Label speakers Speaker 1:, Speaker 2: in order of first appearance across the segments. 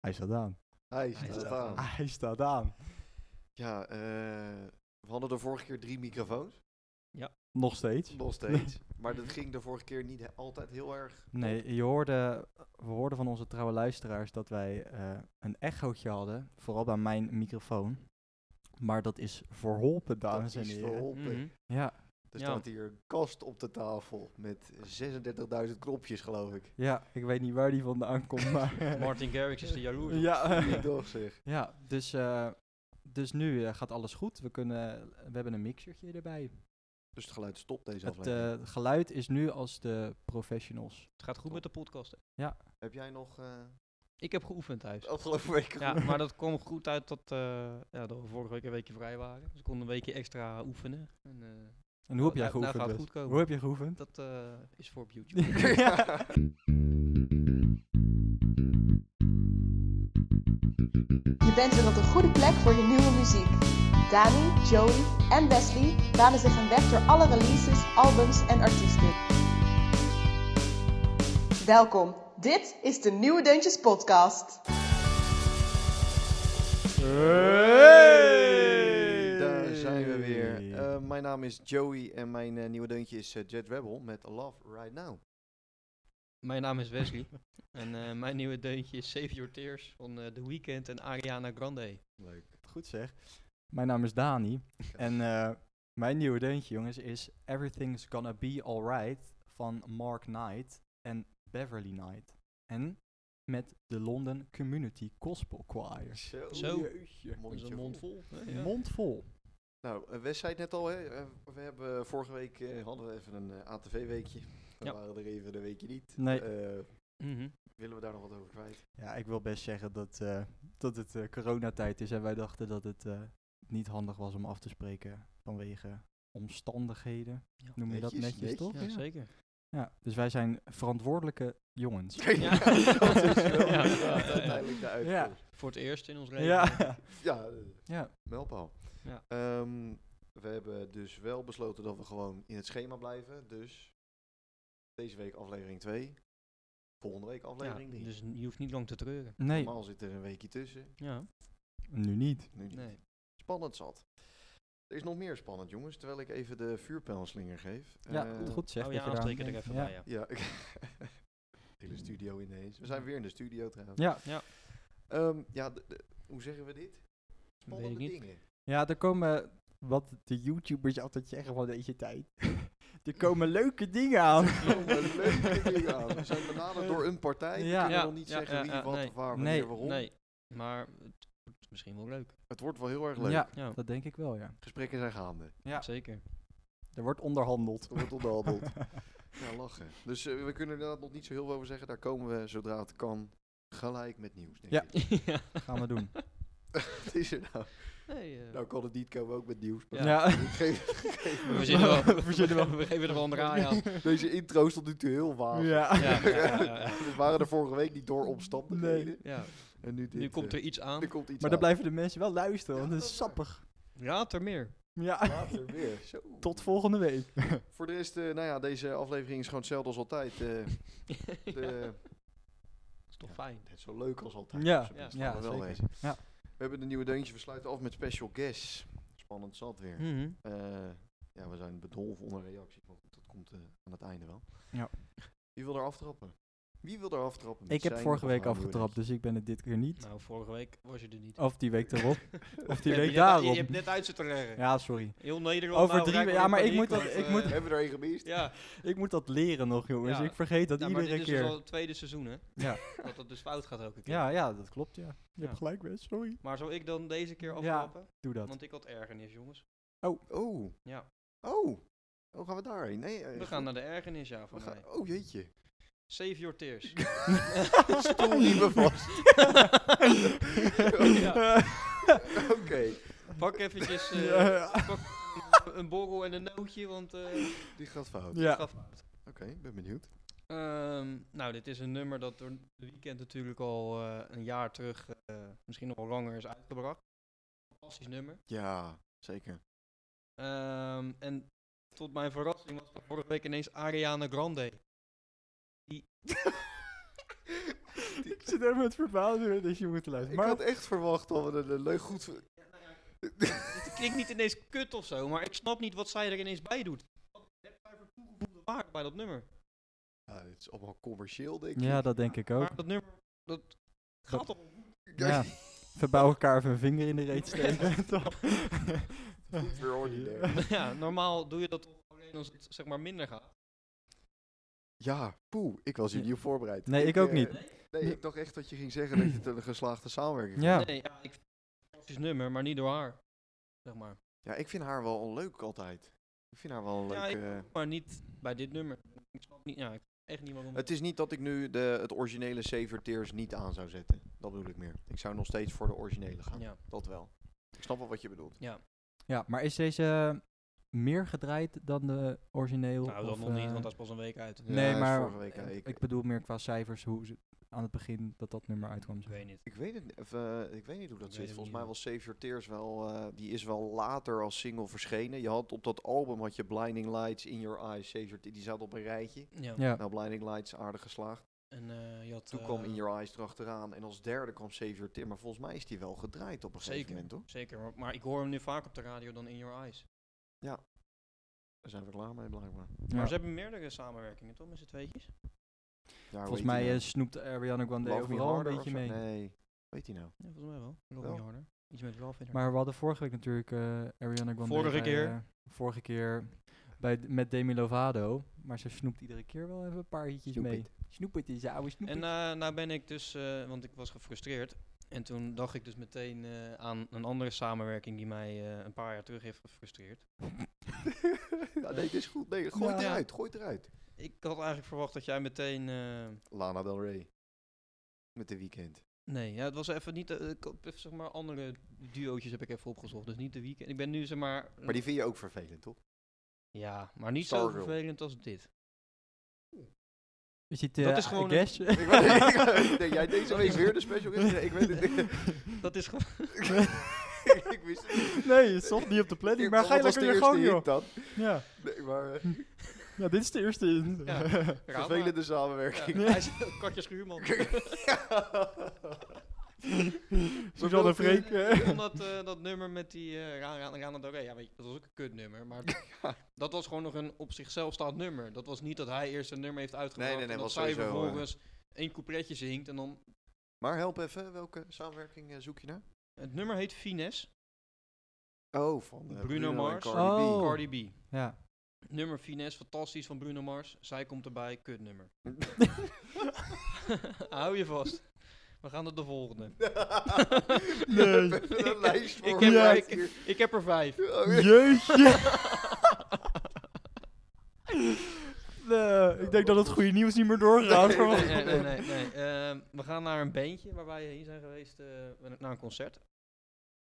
Speaker 1: Hij staat aan.
Speaker 2: Hij
Speaker 3: Hij Ah.
Speaker 2: staat
Speaker 3: staat
Speaker 2: aan.
Speaker 3: aan.
Speaker 1: Hij staat aan.
Speaker 2: Ja, eh, we hadden de vorige keer drie microfoons.
Speaker 1: Nog steeds.
Speaker 2: Nog steeds. maar dat ging de vorige keer niet he- altijd heel erg.
Speaker 1: Nee, je hoorde, we hoorden van onze trouwe luisteraars dat wij eh, een echootje hadden. Vooral bij mijn microfoon. Maar dat is verholpen, dames
Speaker 2: dat
Speaker 1: en
Speaker 2: is
Speaker 1: heren.
Speaker 2: verholpen.
Speaker 3: Mhm.
Speaker 1: Ja,
Speaker 2: Er
Speaker 3: Ja.
Speaker 2: staat hier een kast op de tafel met 36.000 knopjes, geloof ik.
Speaker 1: ja, ik weet niet waar die vandaan komt, maar...
Speaker 3: Martin Garrix is de jaloers. op.
Speaker 1: ja,
Speaker 2: Niet toch zeg.
Speaker 1: ja, dus, eh, dus nu eh, gaat alles goed. We, kunnen, eh, we hebben een mixertje erbij.
Speaker 2: Dus het geluid stopt deze
Speaker 1: Het
Speaker 2: aflevering.
Speaker 1: eh, geluid is nu als de professionals.
Speaker 3: Het gaat goed met de podcast.
Speaker 2: Heb jij nog eh
Speaker 3: Ik heb geoefend thuis.
Speaker 2: de afgelopen week
Speaker 3: Ja, maar dat kwam goed uit dat, eh, ja, dat we vorige week een weekje vrij waren. Dus ik kon een weekje extra oefenen. En, eh,
Speaker 1: En hoe heb jij
Speaker 3: nou- nou
Speaker 1: geoefend?
Speaker 3: gaat het
Speaker 1: Wes?
Speaker 3: goed komen.
Speaker 1: Hoe heb je geoefend?
Speaker 3: dat eh, is voor op YouTube.
Speaker 2: Ja.
Speaker 4: Je bent weer op de goede plek voor je nieuwe muziek. Dani, Joey en Wesley banen zich een weg door alle releases, albums en artiesten. Welkom, dit is de Nieuwe Deuntjes Podcast.
Speaker 2: Hey, Daar zijn we weer. Eh, mijn naam is Joey en mijn eh, nieuwe deuntje is eh, Jet Rebel met Love Right Now.
Speaker 3: mijn naam is Wesley. en eh, mijn nieuwe deuntje is Save Your Tears van eh The Weeknd en Ariana Grande.
Speaker 2: Leuk.
Speaker 1: Goed zeg. Mijn naam is Dani. En eh, mijn nieuwe deuntje, jongens, is Everything's Gonna Be Alright van Mark Knight en Beverly Knight. En met de London Community Gospel Choir.
Speaker 2: Zo.
Speaker 3: Zo.
Speaker 1: Jeetje.
Speaker 3: Dat is
Speaker 2: Mondje
Speaker 3: een mond vol. hè, ja.
Speaker 1: Mond vol.
Speaker 2: Nou, eh, Wes zei het net al, hè? eh, we hebben eh, vorige week eh, hadden we even een ATV-weekje. We
Speaker 3: Ja.
Speaker 2: waren er even een weekje niet.
Speaker 1: Nee.
Speaker 2: Eh,
Speaker 3: Mhm.
Speaker 2: willen we daar nog wat over kwijt?
Speaker 1: Ja, ik wil best zeggen dat, eh, dat het eh, coronatijd is en wij dachten dat het eh, niet handig was om af te spreken vanwege omstandigheden.
Speaker 3: Ja.
Speaker 1: Noem je dat
Speaker 2: Netjes,
Speaker 1: netjes,
Speaker 2: netjes,
Speaker 1: toch?
Speaker 3: Ja, zeker.
Speaker 1: Ja, dus wij zijn verantwoordelijke jongens.
Speaker 3: Ja.
Speaker 2: dat is wel
Speaker 3: Ja.
Speaker 2: inderdaad uiteindelijk de uitkomst.
Speaker 3: Voor het eerst in ons leven.
Speaker 1: Ja.
Speaker 2: Ja, eh,
Speaker 1: ja.
Speaker 2: mijlpaal.
Speaker 3: Ja.
Speaker 2: Ehm, we hebben dus wel besloten dat we gewoon in het schema blijven. Dus deze week aflevering 2. Volgende week
Speaker 3: Ja,
Speaker 2: aflevering 3.
Speaker 3: dus je hoeft niet lang te treuren.
Speaker 1: Nee,
Speaker 2: Normaal zit er een weekje tussen.
Speaker 3: Ja.
Speaker 1: nu niet.
Speaker 2: Nu niet.
Speaker 3: Nee.
Speaker 2: Spannend zat. Er is nog meer spannend, jongens. Terwijl ik even de vuurpijlslinger geef.
Speaker 1: Ja,
Speaker 2: Eh,
Speaker 1: goed, goed zeg.
Speaker 3: oh
Speaker 1: dat je
Speaker 3: ja,
Speaker 1: daar aan
Speaker 3: aansteken er
Speaker 1: denkt.
Speaker 3: even
Speaker 1: ja.
Speaker 3: bij. Ja.
Speaker 2: Ja, hele studio ineens. We zijn weer in de studio trouwens.
Speaker 1: Ja.
Speaker 2: Ehm, ja, d- d- hoe zeggen we dit? Spannende
Speaker 3: niet.
Speaker 2: dingen.
Speaker 1: ja, er komen wat de YouTubers altijd zeggen van deze tijd. er komen leuke dingen aan.
Speaker 2: Jongen, leuke dingen aan. We zijn benaderd door een partij. We
Speaker 1: Oh. Ja.
Speaker 2: kunnen
Speaker 3: Ja,
Speaker 2: nog niet
Speaker 3: ja,
Speaker 2: zeggen
Speaker 3: ja,
Speaker 2: wie,
Speaker 3: ja,
Speaker 2: wat,
Speaker 3: nee.
Speaker 2: waar, wanneer,
Speaker 1: Nee,
Speaker 2: waarom.
Speaker 3: Nee, maar het wordt misschien wel leuk.
Speaker 2: Het wordt wel heel erg leuk.
Speaker 1: Ja,
Speaker 3: Ja,
Speaker 1: dat denk ik wel, ja.
Speaker 2: Gesprekken zijn gaande.
Speaker 1: Ja.
Speaker 3: zeker.
Speaker 1: Er wordt onderhandeld.
Speaker 2: Het wordt onderhandeld. ja, lachen. Dus eh, we kunnen er inderdaad nog niet zo heel veel over zeggen. Daar komen we, zodra het kan, gelijk met nieuws, denk
Speaker 1: Ja.
Speaker 2: ik.
Speaker 3: ja.
Speaker 1: Gaan we doen.
Speaker 2: Wat is er nou?
Speaker 3: Nee, eh,
Speaker 2: Nou kan het niet, komen we ook met nieuws. maar
Speaker 3: Ja.
Speaker 2: geef- geef me-
Speaker 3: we verzinnen wel.
Speaker 1: we verzinnen wel.
Speaker 3: We geven er wel een draai aan.
Speaker 2: Deze intro is tot nu toe heel
Speaker 1: Ja.
Speaker 2: vaag.
Speaker 1: ja.
Speaker 3: Ja, ja, ja, ja.
Speaker 2: we waren er vorige week niet door omstandigheden.
Speaker 1: Nee.
Speaker 3: Ja,
Speaker 2: En nu, dit,
Speaker 3: nu komt
Speaker 2: eh,
Speaker 3: er iets aan.
Speaker 2: nu komt iets
Speaker 1: Maar
Speaker 2: aan.
Speaker 1: dan blijven de mensen wel luisteren, want
Speaker 2: Ja,
Speaker 1: het is
Speaker 2: dat is waar.
Speaker 1: sappig.
Speaker 3: Ja, ter meer.
Speaker 1: Ja.
Speaker 2: Later weer. Zo.
Speaker 1: Tot volgende week.
Speaker 2: Voor de rest, eh, nou ja, deze aflevering is gewoon hetzelfde als altijd. eh, de,
Speaker 3: is toch fijn.
Speaker 2: Net zo leuk als altijd.
Speaker 1: Ja,
Speaker 2: op zijn minst,
Speaker 1: ja,
Speaker 2: laten we wel
Speaker 1: zeker.
Speaker 2: wezen.
Speaker 1: Ja.
Speaker 2: We hebben de nieuwe deuntje. We sluiten af met special guests. Spannend zat weer.
Speaker 3: Mhm.
Speaker 2: Eh, ja, we zijn bedolven onder reacties, maar goed, dat komt eh, aan het einde wel.
Speaker 1: Ja.
Speaker 2: Wie wil er aftrappen? Wie wil er aftrappen? met
Speaker 1: Ik heb
Speaker 2: zijn
Speaker 1: vorige
Speaker 2: of
Speaker 1: week
Speaker 2: haar nieuwe
Speaker 1: afgetrapt, dus ik ben het dit keer niet.
Speaker 3: Nou, vorige week was je er niet.
Speaker 1: Of die week erop. Of die week
Speaker 3: Ja, je hebt- Je,
Speaker 1: daarop.
Speaker 3: hebt net uit zitten leggen.
Speaker 1: Ja, sorry.
Speaker 3: Heel Nederland.
Speaker 1: Over
Speaker 3: nou,
Speaker 1: drie
Speaker 3: raakt
Speaker 1: we-
Speaker 3: wel
Speaker 1: ja,
Speaker 3: in
Speaker 1: maar ik
Speaker 3: paniek,
Speaker 1: moet dat-
Speaker 3: want,
Speaker 1: ik
Speaker 3: eh,
Speaker 1: moet-
Speaker 2: deuntje? Hebben we er een gemist?
Speaker 3: Ja,
Speaker 1: Ik moet dat leren nog, jongens.
Speaker 3: Ja.
Speaker 1: Ik vergeet dat
Speaker 3: ja, maar
Speaker 1: iedere
Speaker 3: dit is
Speaker 1: keer.
Speaker 3: dus al het tweede seizoen, hè?
Speaker 1: Ja.
Speaker 3: Dat het dus fout gaat elke keer.
Speaker 1: Ja, ja, dat klopt, ja. Je
Speaker 3: Ja.
Speaker 1: hebt gelijk, Wes. Sorry.
Speaker 3: Maar zou ik dan deze keer
Speaker 1: Ja.
Speaker 3: aftrappen?
Speaker 1: Doe dat.
Speaker 3: Want ik had ergernis, jongens.
Speaker 2: Oh.
Speaker 3: Ja.
Speaker 2: Oh. Oh, gaan we daarheen? Nee, eh,
Speaker 3: We
Speaker 2: goed.
Speaker 3: gaan naar de ergernis, ja,
Speaker 2: We
Speaker 3: van
Speaker 2: gaan-
Speaker 3: mij.
Speaker 2: Oh, jeetje.
Speaker 3: Save your tears.
Speaker 2: Stoel niet meer vast.
Speaker 3: Ja.
Speaker 2: Oké.
Speaker 3: Pak eventjes eh,
Speaker 1: Ja.
Speaker 3: pak een borrel en een nootje, want eh het
Speaker 2: Die gaat fout.
Speaker 1: Ja.
Speaker 3: gaat
Speaker 2: Oké, ik ben benieuwd.
Speaker 3: Ehm, nou, dit is een nummer dat door de weekend natuurlijk al eh, een jaar terug, eh, misschien nog wel langer, is uitgebracht. Fantastisch nummer.
Speaker 2: Ja, zeker.
Speaker 3: Ehm, en tot mijn verrassing was er vorige week ineens Ariana Grande. Die
Speaker 1: ik zit er met verbazing dat je moet luisteren.
Speaker 2: Ik
Speaker 1: Maar
Speaker 2: had echt verwacht dat we een, een leuk goed...
Speaker 3: Het nou klinkt niet ineens kut of zo, maar ik snap niet wat zij er ineens bij doet. Wat heb zij voor toegevoegde waarde bij dat nummer?
Speaker 2: Ja, dit is allemaal commercieel, denk ik.
Speaker 1: ja, dat denk ik ook.
Speaker 3: Maar dat nummer, dat gaat toch om
Speaker 1: Ja. Verbouw elkaar even een vinger in de reet steken. toch?
Speaker 2: Goed weer ordinair.
Speaker 3: ja, normaal doe je dat toch alleen als het zeg maar minder gaat.
Speaker 2: Ja, poeh, ik was hier niet op voorbereid.
Speaker 1: Nee, ik ook
Speaker 2: eh,
Speaker 1: niet.
Speaker 2: Nee, ik dacht echt dat je ging zeggen dat je het een geslaagde samenwerking vond.
Speaker 1: Ja.
Speaker 3: Nee, ja, ik het is nummer, maar niet door haar. Zeg maar.
Speaker 2: Ja, ik vind haar wel leuk altijd. Ik vind haar wel een
Speaker 3: Ja,
Speaker 2: leuk...
Speaker 3: ik-
Speaker 2: eh,
Speaker 3: Maar niet bij dit nummer. Ik snap niet, ja, ik snap echt niet waarom.
Speaker 2: Het is niet dat ik nu de, het originele Saver Tears niet aan zou zetten. Dat bedoel ik meer. Ik zou nog steeds voor de originele gaan.
Speaker 3: ja.
Speaker 2: Dat wel. Ik snap wel wat je bedoelt.
Speaker 1: Ja, maar is deze meer gedraaid dan de origineel?
Speaker 3: Nou, dat
Speaker 1: of,
Speaker 3: nog niet,
Speaker 1: eh,
Speaker 3: want dat is pas een week uit.
Speaker 2: Ja,
Speaker 1: Nee,
Speaker 2: is
Speaker 1: maar
Speaker 2: vorige week, eh, ja,
Speaker 1: ik,
Speaker 2: ik-
Speaker 1: bedoel meer qua cijfers hoe ze aan het begin dat dat nummer uitkwam.
Speaker 3: Ik weet niet.
Speaker 2: Ik weet, het, ni- of, eh, ik weet niet hoe dat
Speaker 3: Ik weet
Speaker 2: zit. Volgens
Speaker 3: het niet,
Speaker 2: mij was Save Your Tears wel... eh, die is wel later als single verschenen. Je had op dat album had je Blinding Lights, In Your Eyes, Save Your Tears. Die zaten op een rijtje.
Speaker 3: Ja.
Speaker 1: Ja,
Speaker 2: Nou, Blinding Lights aardig geslaagd.
Speaker 3: En eh, je had...
Speaker 2: Toen
Speaker 3: eh,
Speaker 2: kwam In Your Eyes erachteraan. En als derde kwam Save Your Tears. Maar volgens mij is die wel gedraaid op een gegeven
Speaker 3: Zeker,
Speaker 2: moment, toch?
Speaker 3: zeker. Maar, maar ik hoor hem nu vaak op de radio dan In Your Eyes.
Speaker 2: Daar zijn we klaar mee, blijkbaar.
Speaker 1: ja.
Speaker 3: Maar ze hebben meerdere samenwerkingen, toch? Met z'n tweetjes?
Speaker 2: Ja, hoe heet
Speaker 1: Volgens
Speaker 2: die
Speaker 1: mij
Speaker 2: nou?
Speaker 1: eh, snoept Ariana Grande
Speaker 2: Love Me
Speaker 1: overal een
Speaker 2: Harder of
Speaker 1: beetje
Speaker 2: zo?
Speaker 1: mee.
Speaker 2: Nee, weet hij nou?
Speaker 3: Ja, volgens mij wel. Love
Speaker 2: Wel.
Speaker 3: Me Harder. Iets met Love in Her.
Speaker 1: Maar we hadden vorige week natuurlijk eh, Ariana Grande.
Speaker 3: Vorige
Speaker 1: bij,
Speaker 3: keer.
Speaker 1: eh, vorige keer bij, d- met Demi Lovato. Maar ze snoept iedere keer wel even een paar hitjes
Speaker 2: Snoep
Speaker 1: mee.
Speaker 2: it.
Speaker 1: Snoep het is de oude snoep
Speaker 3: En
Speaker 1: it.
Speaker 3: eh, nou ben ik dus, eh, want ik was gefrustreerd. En toen dacht ik dus meteen eh, aan een andere samenwerking die mij eh, een paar jaar terug heeft gefrustreerd.
Speaker 2: Ja, nee, het is goed. Nee, gooi het
Speaker 3: Ja.
Speaker 2: eruit. Gooi het eruit.
Speaker 3: Ik had eigenlijk verwacht dat jij meteen. eh,
Speaker 2: Lana Del Rey. Met de weekend.
Speaker 3: nee, ja, het was even niet. eh, ik had even, zeg maar andere duootjes heb ik even opgezocht. Dus niet de weekend. Ik ben nu zeg maar.
Speaker 2: Maar die vind je ook vervelend, toch?
Speaker 3: ja, maar niet zo
Speaker 2: Stargirl.
Speaker 3: vervelend als dit.
Speaker 1: Is het,
Speaker 3: dat
Speaker 1: eh,
Speaker 3: is
Speaker 1: I
Speaker 3: gewoon een-
Speaker 1: guess?
Speaker 2: ik weet- nee, jij deze week weer de special guest? Nee, ik weet het niet.
Speaker 3: Dat is gewoon.
Speaker 2: ik wist het niet.
Speaker 1: Nee, het stond niet op de planning, maar
Speaker 2: Wat
Speaker 1: ga je
Speaker 2: was de
Speaker 1: lekker weer
Speaker 2: eerste
Speaker 1: gang,
Speaker 2: hit
Speaker 1: joh.
Speaker 2: Dan?
Speaker 1: Ja.
Speaker 2: Nee, maar eh,
Speaker 1: ja, dit is de eerste in.
Speaker 3: Ja, raar, maar-
Speaker 2: vervelende samenwerking.
Speaker 3: Ja, hij is Katja Schuurman.
Speaker 1: Suzanne
Speaker 2: Wat wil je-
Speaker 1: Freek. eh.
Speaker 3: Om dat, eh, dat nummer met die eh Rana Rana Doré, ja, weet je, dat was ook een kutnummer. Maar dat was gewoon nog een op zichzelf staand nummer. Dat was niet dat hij eerst een nummer heeft uitgebracht
Speaker 2: Nee, nee, nee,
Speaker 3: en dat
Speaker 2: was
Speaker 3: zij
Speaker 2: sowieso, eh.
Speaker 3: vervolgens één coupletje zingt. En dan,
Speaker 2: Maar help even, welke samenwerking eh, zoek je naar?
Speaker 3: het nummer heet Fines,
Speaker 2: Oh, van eh,
Speaker 3: Bruno Mars.
Speaker 2: en Cardi B.
Speaker 1: Oh.
Speaker 3: Cardi B.
Speaker 1: Ja.
Speaker 3: Nummer Fines, fantastisch van Bruno Mars. Zij komt erbij, kutnummer. Hou je vast. We gaan naar de volgende.
Speaker 2: Je hebt even een lijst voor
Speaker 3: ik,
Speaker 2: me
Speaker 3: heb er,
Speaker 2: uit
Speaker 3: ik,
Speaker 2: hier.
Speaker 3: ik heb er vijf.
Speaker 2: Oh, ja.
Speaker 1: Jeetje. Nee, ik denk dat het goede nieuws niet meer doorgaat.
Speaker 2: Nee,
Speaker 3: nee, nee, nee. nee, nee. Ehm, we gaan naar een bandje waar wij heen zijn geweest eh, naar een concert.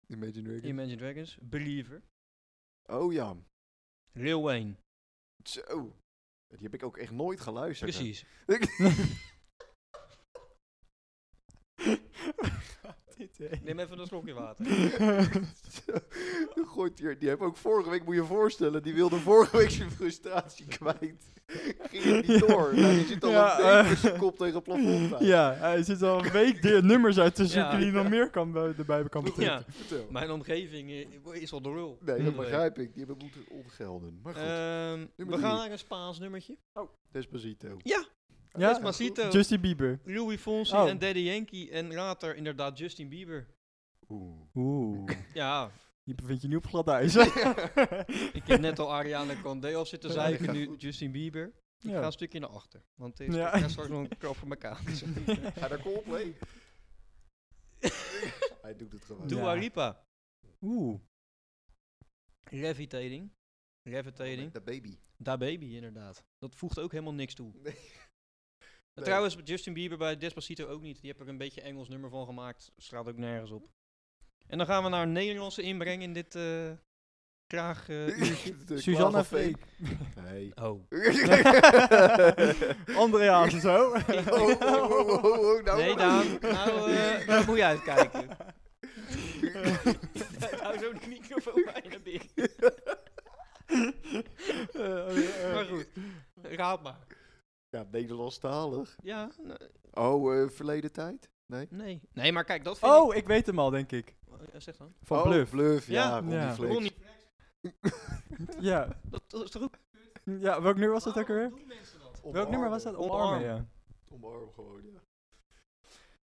Speaker 2: Imagine Dragons.
Speaker 3: Imagine Dragons, Believer,
Speaker 2: Oh ja.
Speaker 3: Lil Wayne.
Speaker 2: Zo. Die heb ik ook echt nooit geluisterd. hè.
Speaker 3: Precies.
Speaker 1: eh.
Speaker 3: Neem even een slokje water.
Speaker 2: Zo. Gooit hier. Die heb ook vorige week, moet je je voorstellen, die wilde vorige week zijn frustratie kwijt. Ging het niet door. Nou, die zit al
Speaker 1: Ja,
Speaker 2: een week
Speaker 1: eh.
Speaker 2: met zijn kop tegen het plafond. aan.
Speaker 1: Ja, hij zit al een week de nummers uit te zoeken
Speaker 3: Ja.
Speaker 1: die nog meer kan, bij- erbij kan
Speaker 2: Goed,
Speaker 1: betrekken.
Speaker 3: Ja.
Speaker 2: Vertel.
Speaker 3: Mijn omgeving eh, is al de lul.
Speaker 1: Hmm,
Speaker 2: Nee, dat
Speaker 3: Lil
Speaker 2: begrijp ik. Die hebben moeten ontgelden. Maar goed,
Speaker 3: Wayne.
Speaker 1: Eh,
Speaker 3: Ehm,
Speaker 2: Nummer
Speaker 3: we gaan
Speaker 2: drie.
Speaker 3: naar een Spaans nummertje.
Speaker 2: Despacito.
Speaker 3: Ja,
Speaker 1: Ja,
Speaker 3: Despacito.
Speaker 1: Justin Bieber.
Speaker 3: Louis Fonsi
Speaker 1: Oh.
Speaker 3: en Daddy Yankee en later inderdaad Justin Bieber.
Speaker 2: Oeh.
Speaker 1: Oeh,
Speaker 3: Ja,
Speaker 1: die bevind je nu op glad ijs.
Speaker 3: ik heb net al Ariana Grande op zitten
Speaker 1: Ja,
Speaker 2: dat
Speaker 3: zeiken,
Speaker 2: gaat
Speaker 3: nu
Speaker 2: goed.
Speaker 3: Justin Bieber. Ik
Speaker 1: Ja.
Speaker 3: ga een stukje naar achter, want ik
Speaker 1: Ja.
Speaker 3: ja. krijg straks nog een krap voor elkaar.
Speaker 2: Ga naar Coldplay. Hij doet het gewoon.
Speaker 1: Doe-
Speaker 3: Dua Lipa,
Speaker 1: Oeh.
Speaker 3: Levitating, Levitating,
Speaker 2: De baby.
Speaker 3: Da Baby inderdaad. Dat voegt ook helemaal niks toe.
Speaker 1: Eh,
Speaker 2: Nee.
Speaker 3: En Trouwens, Justin Bieber bij Despacito ook niet. Die heb er een beetje Engels nummer van gemaakt. Straat ook nergens op. En dan gaan we naar een Nederlandse inbreng in dit eh kraag... eh, uurtje.
Speaker 2: De
Speaker 1: Suzanne
Speaker 2: Klaas van
Speaker 1: Freek.
Speaker 2: Veen. Nee.
Speaker 3: oh.
Speaker 1: Andreas en zo.
Speaker 2: Oh, oh, oh, oh, oh, nou-
Speaker 3: Nee, Daan. Nou, eh, daar moet je uitkijken. Hou zo de microfoon bij naar binnen.
Speaker 1: Eh, eh, eh.
Speaker 3: Maar goed, raad maar.
Speaker 2: Ja, Nederlandstalig.
Speaker 3: Ja, n-
Speaker 2: Oh, eh, verleden tijd? Nee?
Speaker 3: nee. Nee, maar kijk, dat vind
Speaker 1: Oh, ik weet hem al, denk ik.
Speaker 3: ik... Eh, Zeg dan.
Speaker 1: Van
Speaker 2: oh,
Speaker 1: Bluff.
Speaker 2: Bluff, ja.
Speaker 3: Ja,
Speaker 2: Ronnie
Speaker 1: ja.
Speaker 2: Flex.
Speaker 3: Ronnie,
Speaker 1: Ja.
Speaker 3: dat, dat is toch ook...
Speaker 1: ja, welk nummer was dat ook weer?
Speaker 3: Doen mensen dat?
Speaker 1: Welk nummer was dat? Omarmen, ja.
Speaker 2: Omarm gewoon, ja.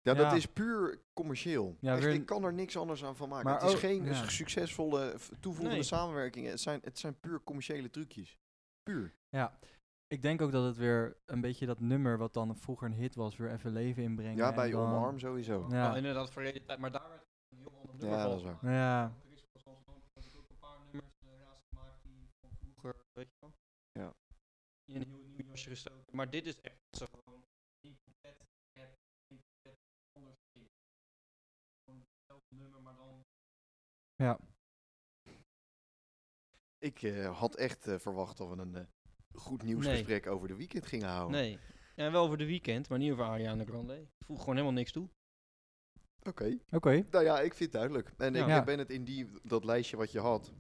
Speaker 2: Ja, dat
Speaker 1: Ja.
Speaker 2: is puur commercieel.
Speaker 1: Ja,
Speaker 2: Echt,
Speaker 1: weer-
Speaker 2: ik kan er niks anders aan van maken.
Speaker 1: Maar
Speaker 2: het is
Speaker 1: ook-
Speaker 2: geen
Speaker 1: ja.
Speaker 2: s- succesvolle eh, v- toevoegende
Speaker 3: Nee.
Speaker 2: samenwerkingen. Het zijn, het zijn puur commerciële trucjes. Puur.
Speaker 1: Ik denk ook dat het weer een beetje dat nummer wat dan vroeger een hit was, weer even leven inbrengen.
Speaker 2: Ja,
Speaker 1: en
Speaker 2: bij
Speaker 1: dan-
Speaker 2: Omarm sowieso. Ja,
Speaker 1: Ja.
Speaker 3: Oh, inderdaad, verleden tijd. Maar daar werd een heel ander nummer van.
Speaker 2: dat is waar.
Speaker 1: Ja.
Speaker 3: Er is volgens mij ook een paar nummers eh, raast gemaakt die van vroeger, weet je wel.
Speaker 2: Ja.
Speaker 3: In een heel nieuw jasje gestoken. Maar dit is echt zo gewoon incomplet rap, incomplet anders ding. Gewoon hetzelfde nummer, maar dan...
Speaker 2: Ik eh, had echt eh, verwacht dat we een eh, goed nieuwsgesprek over de weekend gingen houden.
Speaker 3: Nee. Ja, wel over de weekend, maar niet over Ariana Grande. Voeg gewoon helemaal niks toe.
Speaker 2: Oké.
Speaker 1: Oké.
Speaker 2: Nou ja, ik vind het duidelijk. En ik
Speaker 1: Ja.
Speaker 2: eh, ben het in die, dat lijstje wat je had,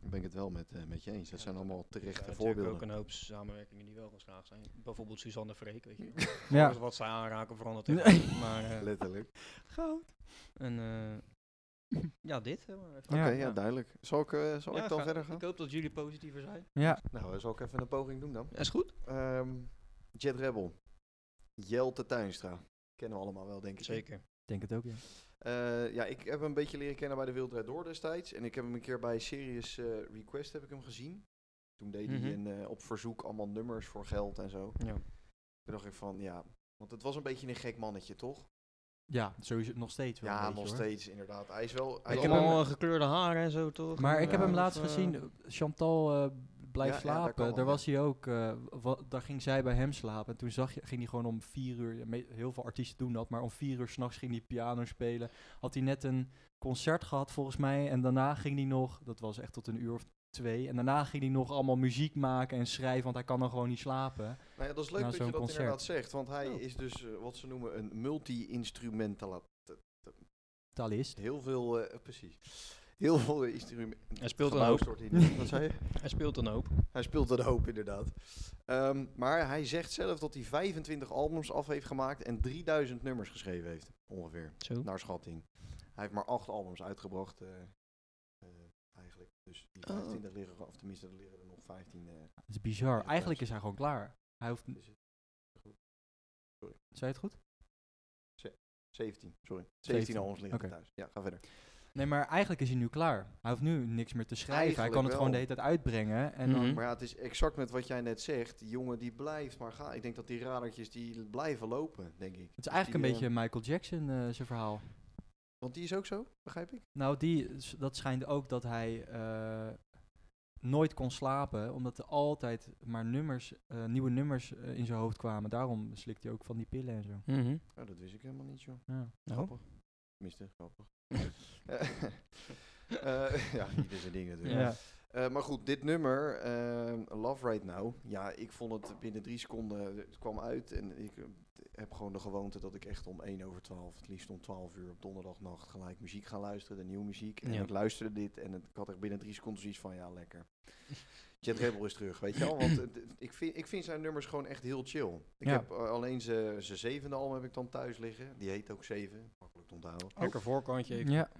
Speaker 2: ben ik het wel met, eh, met je eens. Dat zijn allemaal terechte
Speaker 3: ook
Speaker 2: voorbeelden.
Speaker 3: een hoop samenwerkingen die wel geslaagd zijn. Bijvoorbeeld Suzanne Freek, weet je.
Speaker 1: Ja.
Speaker 3: Alles wat zij aanraken verandert.
Speaker 1: Nee.
Speaker 3: echt. Maar, eh,
Speaker 2: Letterlijk.
Speaker 1: Goud.
Speaker 3: en, eh, ja, dit. hè, maar even-
Speaker 2: Oké,
Speaker 1: Ja.
Speaker 2: ja. duidelijk. Zal ik, eh, zal
Speaker 3: Ja,
Speaker 2: ik dan
Speaker 3: ga-
Speaker 2: verder gaan?
Speaker 3: Oh, Ik hoop dat jullie positiever zijn.
Speaker 1: Ja.
Speaker 2: Nou, eh, zal ik even een poging doen dan?
Speaker 3: Ja, is goed.
Speaker 2: Ehm, Jet Rebel. Jelte Tuinstra. Kennen we allemaal wel, denk ik.
Speaker 3: Zeker.
Speaker 1: Denk het ook, ja.
Speaker 2: Eh, ja, ik heb hem een beetje leren kennen bij de Wild Red Door destijds. En ik heb hem een keer bij Serious eh, Request heb ik hem gezien. Toen deed
Speaker 3: Mhm.
Speaker 2: hij een, eh, op verzoek allemaal nummers voor geld en zo.
Speaker 3: Ja.
Speaker 2: Toen dacht ik van, ja... Want het was een beetje een gek mannetje, toch?
Speaker 1: Ja, sowieso nog steeds wel.
Speaker 2: ja,
Speaker 1: een beetje,
Speaker 2: nog
Speaker 1: hoor.
Speaker 2: steeds, inderdaad. Hij is wel... Hij
Speaker 3: Ik
Speaker 2: is
Speaker 3: heb
Speaker 2: wel-
Speaker 3: allemaal eh, gekleurde haren en zo, toch?
Speaker 1: Maar ik heb
Speaker 2: Ja,
Speaker 1: hem
Speaker 2: of,
Speaker 1: laatst
Speaker 3: eh,
Speaker 1: gezien. eh, Chantal eh, blijft
Speaker 2: Ja, ja, daar
Speaker 1: slapen.
Speaker 2: kan wel,
Speaker 1: daar
Speaker 2: ja.
Speaker 1: was hij ook. eh, wa- daar ging zij bij hem slapen. En toen zag je, ging hij gewoon om vier uur. ja, me- Heel veel artiesten doen dat. Maar om vier uur s'nachts ging hij piano spelen. Had hij net een concert gehad volgens mij. En daarna ging hij nog. Dat was echt tot een uur of twee. En daarna ging hij nog allemaal muziek maken en schrijven. Want hij kan dan gewoon niet slapen.
Speaker 2: Nou ja, dat is leuk
Speaker 1: Nou,
Speaker 2: dat je
Speaker 1: zo'n
Speaker 2: dat
Speaker 1: concert.
Speaker 2: inderdaad zegt. Want hij
Speaker 1: Oh.
Speaker 2: is dus eh, wat ze noemen een multi-instrumentalist.
Speaker 1: Talist.
Speaker 2: Heel veel, eh, precies. Heel veel instrumenten.
Speaker 3: Hij speelt een
Speaker 2: Gebouwd
Speaker 3: hoop.
Speaker 2: wordt hij. Wat zei je?
Speaker 3: Hij speelt een hoop.
Speaker 2: Hij speelt een hoop, inderdaad. Ehm, maar hij zegt zelf dat hij 25 albums af heeft gemaakt en 3000 nummers geschreven heeft. Ongeveer,
Speaker 3: Zo.
Speaker 2: naar schatting. Hij heeft maar acht albums uitgebracht, eh, eh, eigenlijk. Dus die
Speaker 3: Oh.
Speaker 2: 25 liggen, er- of tenminste, er liggen er nog 15. eh,
Speaker 1: Dat is bizar.
Speaker 2: thuis.
Speaker 1: Eigenlijk is hij gewoon klaar. Hij hoeft. n-
Speaker 2: Is het goed?
Speaker 1: Zei je
Speaker 2: Sorry.
Speaker 1: het goed?
Speaker 2: 17, sorry. 17,
Speaker 1: 17,
Speaker 2: albums liggen
Speaker 1: oké.
Speaker 2: er thuis. Ja, ga verder.
Speaker 1: Nee, maar eigenlijk is hij nu klaar. Hij hoeft nu niks meer te schrijven. hij
Speaker 2: Eigenlijk
Speaker 1: kan het
Speaker 2: wel.
Speaker 1: gewoon de hele tijd uitbrengen. En
Speaker 3: Mhm.
Speaker 1: dan
Speaker 2: Maar ja, het is exact met wat jij net zegt. Die jongen die blijft maar gaan. Ik denk dat die radertjes die blijven lopen, denk ik.
Speaker 1: Het is eigenlijk
Speaker 2: Die,
Speaker 1: een beetje Michael Jackson, eh, zijn verhaal.
Speaker 2: Want die is ook zo, begrijp ik?
Speaker 1: Nou, die, s- dat schijnt ook dat hij eh, nooit kon slapen, omdat er altijd maar nummers, eh, nieuwe nummers eh, in zijn hoofd kwamen. Daarom slikt hij ook van die pillen en zo.
Speaker 3: Mhm.
Speaker 2: Nou, dat wist ik helemaal niet, joh.
Speaker 1: Ja. Oh.
Speaker 3: Nou.
Speaker 2: Grappig. Tenminste, grappig. Eh, eh, ja, ieder zijn ding natuurlijk.
Speaker 1: Ja.
Speaker 2: Eh, maar goed, dit nummer, ehm, Love Right Now. Ja, ik vond het binnen drie seconden, eh, het kwam uit. En ik eh, heb gewoon de gewoonte dat ik echt om 1 over 12, het liefst om 12 uur op donderdagnacht gelijk muziek ga luisteren, de nieuwe muziek. En
Speaker 3: Ja.
Speaker 2: ik luisterde dit en het, ik had echt binnen drie seconden zoiets van, ja, lekker. Jet Rebel is terug, weet je wel? Want het- het- ik, vind, ik vind zijn nummers gewoon echt heel chill. Ik
Speaker 1: Ja.
Speaker 2: heb eh, alleen zijn zijn zevende album heb ik dan thuis liggen. Die heet ook Zeven, makkelijk te onthouden.
Speaker 3: Lekker voorkantje. Ik,
Speaker 1: Ja.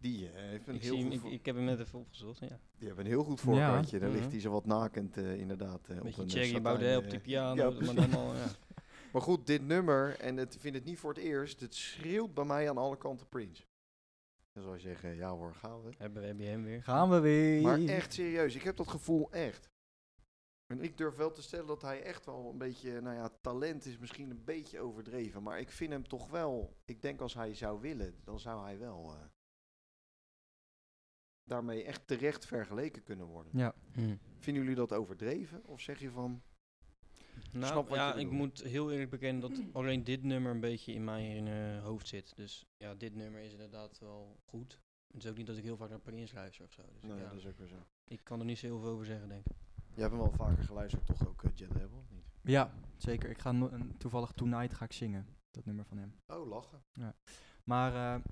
Speaker 2: Die eh, heeft een,
Speaker 3: Oh. ik,
Speaker 2: heel
Speaker 3: zie hem,
Speaker 2: goed
Speaker 3: ik,
Speaker 2: vo-
Speaker 3: ik heb hem net even opgezocht. Ja.
Speaker 2: die hebben een heel goed
Speaker 1: Ja.
Speaker 2: voorkantje. Daar
Speaker 3: Mhm.
Speaker 2: ligt hij zo wat nakend eh, inderdaad. eh, op
Speaker 3: Beetje
Speaker 2: een eh,
Speaker 3: Thierry
Speaker 2: satijn,
Speaker 3: Baudet op
Speaker 2: eh,
Speaker 3: de piano.
Speaker 2: ja,
Speaker 3: maar dan al, ja.
Speaker 2: Maar goed, dit nummer, en het vind het niet voor het eerst, het schreeuwt bij mij aan alle kanten Prince. Dan zou je zeggen, ja hoor, gaan we.
Speaker 3: Hebben we- heb je hem weer.
Speaker 1: Gaan we weer.
Speaker 2: Maar echt serieus, ik heb dat gevoel echt. En ik durf wel te stellen dat hij echt wel een beetje, nou ja, talent is misschien een beetje overdreven. Maar ik vind hem toch wel, ik denk als hij zou willen, dan zou hij wel eh, daarmee echt terecht vergeleken kunnen worden.
Speaker 1: Ja.
Speaker 3: Mhm.
Speaker 2: Vinden jullie dat overdreven? Of zeg je van,
Speaker 3: Nou
Speaker 2: Snap wat
Speaker 3: ja,
Speaker 2: je
Speaker 3: ik
Speaker 2: bedoelt.
Speaker 3: moet heel eerlijk bekennen dat alleen dit nummer een beetje in mijn eh, hoofd zit. Dus ja, dit nummer is inderdaad wel goed. Het is ook niet dat ik heel vaak naar Prins luister of zo. Dus
Speaker 2: nou ja,
Speaker 3: ja,
Speaker 2: dat is ook weer zo.
Speaker 3: ik kan er niet zo heel veel over zeggen, denk ik.
Speaker 2: Je hebt hem wel vaker geluisterd, toch ook, eh, Jet Rebel? Niet?
Speaker 1: Ja, zeker. Ik ga no- een- toevallig Tonight ga ik zingen, dat nummer van hem.
Speaker 2: Oh, lachen.
Speaker 1: Maar eh,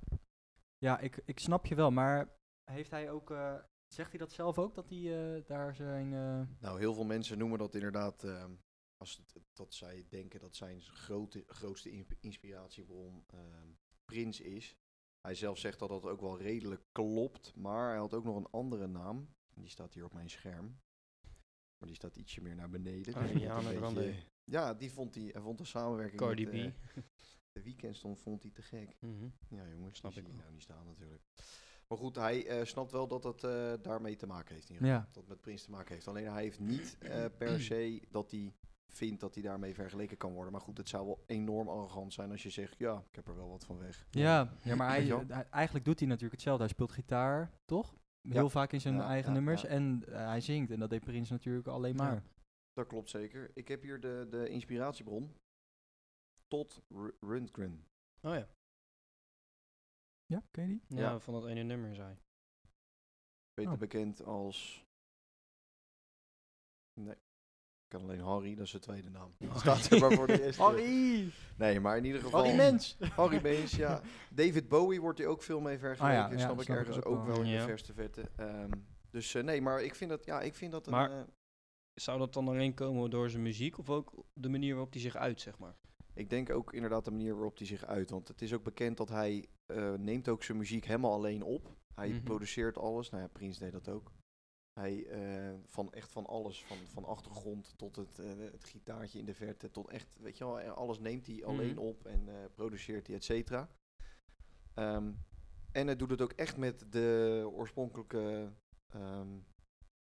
Speaker 1: ja, ik, ik snap je wel. Maar heeft hij ook, eh, zegt hij dat zelf ook, dat hij eh, daar zijn... eh,
Speaker 2: Nou, heel veel mensen noemen dat inderdaad, ehm, als het- dat zij denken dat zijn grote, grootste in- inspiratiebron ehm, Prins is. Hij zelf zegt dat dat ook wel redelijk klopt, maar hij had ook nog een andere naam. Die staat hier op mijn scherm. Maar die staat ietsje meer naar beneden. dus ik moet een
Speaker 3: Ariana
Speaker 2: beetje-
Speaker 3: Oh, Grande.
Speaker 2: Ja, die vond hij, hij vond de samenwerking
Speaker 3: Cardi
Speaker 2: met,
Speaker 3: B.
Speaker 2: eh, de weekendstond vond hij te gek.
Speaker 3: Mhm.
Speaker 2: Ja, jongens,
Speaker 3: Snap
Speaker 2: die
Speaker 3: ik
Speaker 2: zie je
Speaker 3: wel.
Speaker 2: nou niet staan natuurlijk. Maar goed, hij eh, snapt wel dat dat eh, daarmee te maken heeft. in ieder geval.
Speaker 1: Ja.
Speaker 2: Dat het met Prins te maken heeft. Alleen hij heeft niet eh, per se dat hij vindt dat hij daarmee vergeleken kan worden. Maar goed, het zou wel enorm arrogant zijn als je zegt, ja, ik heb er wel wat van weg.
Speaker 1: Ja, ja maar
Speaker 2: Weet
Speaker 1: hij, eh,
Speaker 2: je wel?
Speaker 1: hij- eigenlijk doet hij natuurlijk hetzelfde. Hij speelt gitaar, toch? Heel
Speaker 2: Ja.
Speaker 1: vaak in zijn
Speaker 2: Ja,
Speaker 1: eigen
Speaker 2: ja,
Speaker 1: nummers.
Speaker 2: ja.
Speaker 1: En eh, hij zingt. En dat deed Prins natuurlijk alleen
Speaker 3: Ja.
Speaker 1: maar.
Speaker 2: Dat klopt zeker. Ik heb hier de, de inspiratiebron. Tot Rundgren.
Speaker 3: Oh ja.
Speaker 1: Ja, ken je die?
Speaker 3: ja.
Speaker 2: Ja.
Speaker 3: van dat ene nummer zei.
Speaker 2: Beter
Speaker 1: Oh.
Speaker 2: bekend als... Nee. Ik kan alleen Harry, dat is zijn tweede naam. Staat er maar voor de eerste.
Speaker 1: Harry!
Speaker 2: Nee, maar in ieder
Speaker 3: Oh.
Speaker 2: geval...
Speaker 1: Harry Mens!
Speaker 2: Harry Mees, ja. David Bowie wordt hier ook veel mee vergeleken.
Speaker 1: Ah ja,
Speaker 2: dat
Speaker 1: ja,
Speaker 2: snap ik
Speaker 1: snap ik
Speaker 2: ergens
Speaker 1: ook
Speaker 2: ook,
Speaker 1: wel.
Speaker 2: wel in
Speaker 3: Ja.
Speaker 2: de verste vette. Ehm, dus eh, nee, maar ik vind dat, ja, ik vind dat
Speaker 3: Maar-
Speaker 2: een... eh,
Speaker 3: Zou dat dan alleen komen door zijn muziek of ook de manier waarop hij zich uit, zeg maar?
Speaker 2: ik denk ook inderdaad de manier waarop hij zich uit. Want het is ook bekend dat hij eh, neemt ook zijn muziek helemaal alleen op. Hij
Speaker 3: Mhm.
Speaker 2: produceert alles. Nou ja, Prins deed dat ook. Hij, eh, van echt van alles, van, van achtergrond tot het, eh, het gitaartje in de verte, tot echt, weet je wel, eh, alles neemt hij alleen
Speaker 3: Mhm.
Speaker 2: op en eh, produceert hij, et cetera. Ehm, en hij doet het ook echt met de oorspronkelijke ehm,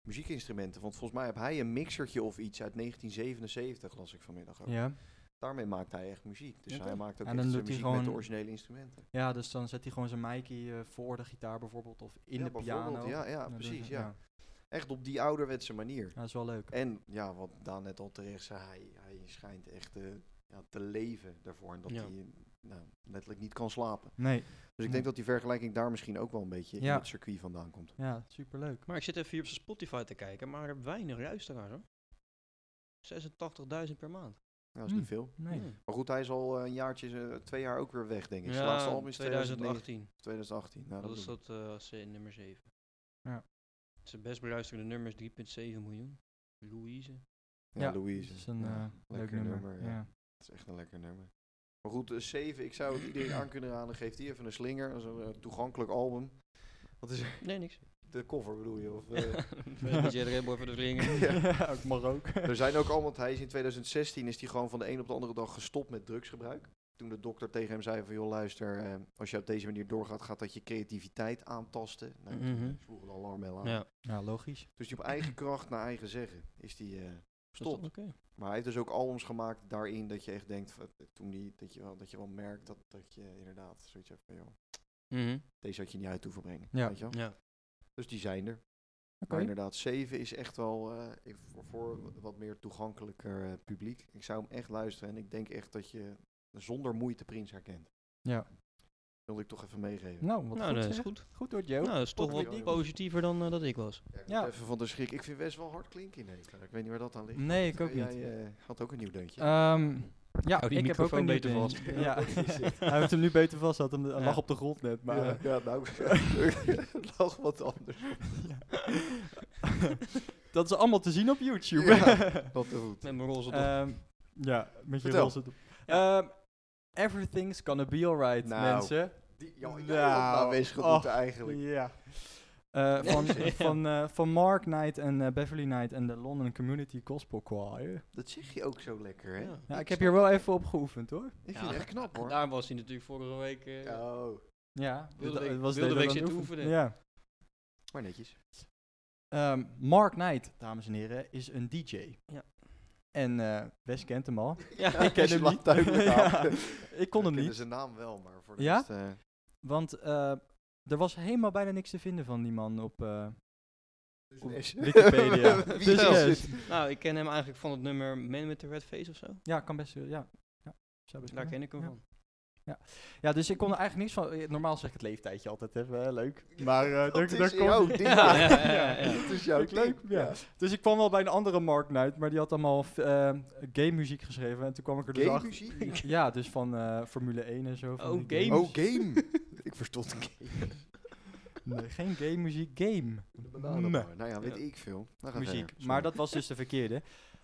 Speaker 2: muziekinstrumenten. Want volgens mij heb hij een mixertje of iets uit 1977, las ik vanmiddag ook
Speaker 1: Ja.
Speaker 2: daarmee maakt hij echt muziek. Dus
Speaker 3: Ja,
Speaker 2: hij
Speaker 3: toch?
Speaker 2: maakt ook
Speaker 1: En
Speaker 2: echt
Speaker 1: dan
Speaker 2: zijn
Speaker 1: doet hij
Speaker 2: muziek met de
Speaker 1: gewoon-
Speaker 2: originele instrumenten.
Speaker 1: ja, dus dan zet hij gewoon zijn mic'ie eh, voor de gitaar bijvoorbeeld. Of in
Speaker 2: Ja,
Speaker 1: de
Speaker 2: bijvoorbeeld,
Speaker 1: piano.
Speaker 2: Ja, ja
Speaker 1: Nou, dat-
Speaker 2: precies. Ja. Echt op die ouderwetse manier.
Speaker 1: Ja, dat is wel leuk.
Speaker 2: En ja, wat Daan net al terecht zei, hij, hij schijnt echt eh, ja, te leven daarvoor. En dat
Speaker 3: Ja.
Speaker 2: hij eh, nou, letterlijk niet kan slapen.
Speaker 1: Nee,
Speaker 2: Dus ik denk dat die vergelijking daar misschien ook wel een beetje in
Speaker 1: Ja.
Speaker 2: het circuit vandaan komt.
Speaker 1: ja, superleuk.
Speaker 3: Maar ik zit even hier op zijn Spotify te kijken, maar er weinig luisteraars hoor. 86.000 per maand.
Speaker 2: Ja, dat is
Speaker 1: Hmm.
Speaker 2: niet veel.
Speaker 1: Nee.
Speaker 3: Ja.
Speaker 2: Maar goed, hij is al eh, een jaartje, eh, twee jaar ook weer weg, denk ik. Zijn
Speaker 3: Ja,
Speaker 2: laatste album is 2018.
Speaker 3: 2018.
Speaker 2: 2018. Nou, dat
Speaker 3: dat is
Speaker 2: bedoel ik.
Speaker 3: dat eh, als, eh, nummer 7.
Speaker 1: Ja.
Speaker 3: Zijn best beluisterde nummers 3,7 miljoen. Louise.
Speaker 2: Ja,
Speaker 1: Ja,
Speaker 2: Louise.
Speaker 1: Dat is een
Speaker 2: Ja,
Speaker 1: eh, leuk
Speaker 2: lekker
Speaker 1: nummer.
Speaker 2: nummer,
Speaker 1: ja.
Speaker 2: ja. Het is echt een lekker nummer. Maar goed, eh, 7, ik zou het iedereen aan kunnen raden. Geef die even een slinger. Dat is een eh, toegankelijk album. Wat is
Speaker 3: Nee, niks.
Speaker 2: de cover bedoel je? Of, eh?
Speaker 3: Met Jerry Rebel even de vinger.
Speaker 1: Ja, ik mag ook.
Speaker 2: er zijn ook allemaal, want hij is in 2016 is hij gewoon van de een op de andere dag gestopt met drugsgebruik. Toen de dokter tegen hem zei van, joh luister, eh, als je op deze manier doorgaat, gaat dat je creativiteit aantasten. Nou, toen,
Speaker 3: Mhm.
Speaker 2: eh, sloeg een alarmbel aan.
Speaker 3: Ja,
Speaker 1: Ja, logisch.
Speaker 2: Dus die op eigen kracht, naar eigen zeggen, is die eh,
Speaker 3: stop.
Speaker 2: gestopt. Maar hij heeft dus ook albums gemaakt daarin dat je echt denkt, van, eh, toen die, dat, je wel, dat je wel merkt dat, dat je inderdaad zoiets hebt van, joh. deze had je niet uit hoeven brengen.
Speaker 1: Ja.
Speaker 2: Weet je wel?
Speaker 3: Mhm. Ja.
Speaker 2: Dus die zijn er.
Speaker 1: Oké.
Speaker 2: Maar inderdaad, 7 is echt wel eh, ik- voor, voor wat meer toegankelijker eh, publiek. Ik zou hem echt luisteren en ik denk echt dat je zonder moeite Prins herkent.
Speaker 1: Ja.
Speaker 2: Wilde ik toch even meegeven.
Speaker 1: Nou, wat
Speaker 3: Nou,
Speaker 1: goed
Speaker 3: dat is
Speaker 1: zeg.
Speaker 3: goed.
Speaker 1: Goed door Joe.
Speaker 3: Nou, dat is toch
Speaker 2: Potje
Speaker 3: wel
Speaker 2: dik.
Speaker 3: positiever dan eh, dat ik was.
Speaker 2: Ja, ik
Speaker 1: Ja.
Speaker 2: moet Even van de schrik. Ik vind Wes wel hard klinken in één keer. Ik weet niet waar dat aan ligt.
Speaker 1: Nee, ik ook
Speaker 2: Jij
Speaker 1: niet.
Speaker 2: eh, had ook een nieuw deuntje.
Speaker 1: Ehm, ja,
Speaker 3: Hou Oh, die
Speaker 1: ik heb ook
Speaker 3: microfoon
Speaker 1: een nieuw
Speaker 3: beter vast. Oh,
Speaker 1: deuntje. Ja, hij heeft hem nu beter vast. Hij had hem- hij
Speaker 3: Ja.
Speaker 1: lag op de grond net, maar... eh,
Speaker 2: ja, ja, nou, nog wat anders.
Speaker 1: Dat is allemaal te zien op YouTube.
Speaker 2: Ja, Wat te goed.
Speaker 3: Met mijn roze dop.
Speaker 1: Ehm, ja, met je
Speaker 2: Vertel.
Speaker 1: roze dop. Ehm, everything's gonna be alright,
Speaker 2: Nou.
Speaker 1: mensen.
Speaker 2: Die, ja,
Speaker 1: Nou, Oh.
Speaker 2: nou, wees goed
Speaker 1: och,
Speaker 2: eigenlijk.
Speaker 1: Ja. Eh, van,
Speaker 3: Ja.
Speaker 1: van, eh, van Mark Knight en eh, Beverly Knight en de London Community Gospel Choir.
Speaker 2: Dat zeg je ook zo lekker, hè?
Speaker 3: Ja.
Speaker 1: Ja, ik heb hier wel even op geoefend hoor.
Speaker 2: Ik vind
Speaker 3: Ja.
Speaker 2: het echt knap, hoor.
Speaker 3: Daar was hij natuurlijk vorige week. eh,
Speaker 1: Nou,
Speaker 2: Oh,
Speaker 1: Ja,
Speaker 3: Wilde
Speaker 1: dit-
Speaker 3: week-
Speaker 1: dit
Speaker 3: wilde
Speaker 1: dit
Speaker 3: week
Speaker 1: aan het
Speaker 3: zitten oefenen.
Speaker 1: Ja.
Speaker 2: maar netjes.
Speaker 1: Ehm, Mark Knight, dames en heren, is een DJ.
Speaker 3: Ja.
Speaker 1: En eh Wes kent hem al.
Speaker 3: Ja,
Speaker 1: Ik ken hem
Speaker 2: slaat
Speaker 1: niet.
Speaker 2: duidelijk
Speaker 1: Ja,
Speaker 2: aan.
Speaker 1: ik kon hem
Speaker 2: We kennen
Speaker 1: niet.
Speaker 2: zijn naam wel, maar voor de
Speaker 1: Ja?
Speaker 2: rest... eh,
Speaker 1: Want eh, er was helemaal bijna niks te vinden van die man op, eh, op
Speaker 2: Wes.
Speaker 1: Wikipedia.
Speaker 2: Wie
Speaker 1: dus
Speaker 2: wel?
Speaker 1: Wes.
Speaker 3: nou, ik ken hem eigenlijk van het nummer Man with the Red Face of zo.
Speaker 1: Ja, kan best. eh, Ja. Ja, zou best
Speaker 3: Daar
Speaker 1: kunnen.
Speaker 3: ken Nou, ik hem
Speaker 1: Ja.
Speaker 3: van.
Speaker 1: Ja, dus ik kon er eigenlijk niks van. eh, Normaal zeg ik het leeftijdje altijd, hè, wel leuk. Maar eh,
Speaker 2: Dat
Speaker 1: daar,
Speaker 2: is
Speaker 1: daar kon
Speaker 2: jouw
Speaker 1: niet.
Speaker 2: ding.
Speaker 3: Ja, ja, ja, ja.
Speaker 2: Dat is jouw
Speaker 1: Vind ik leuk,
Speaker 2: ding,
Speaker 1: ja. Dus ik kwam wel bij een andere Mark Knight, maar die had allemaal f- eh, gay muziek geschreven. En toen kwam ik er dus
Speaker 2: Game
Speaker 1: achter-
Speaker 2: muziek?
Speaker 1: Ja, dus van eh, Formule 1 en zo. van
Speaker 3: Oh,
Speaker 1: die
Speaker 3: game.
Speaker 1: games.
Speaker 2: Oh, game. ik verstond game.
Speaker 1: Nee, geen game muziek, game.
Speaker 2: De bananenbar. Nou ja, weet
Speaker 3: Ja.
Speaker 2: ik veel. Nou, ga
Speaker 1: muziek.
Speaker 2: verder.
Speaker 1: Maar
Speaker 2: Sorry.
Speaker 1: dat was dus de verkeerde.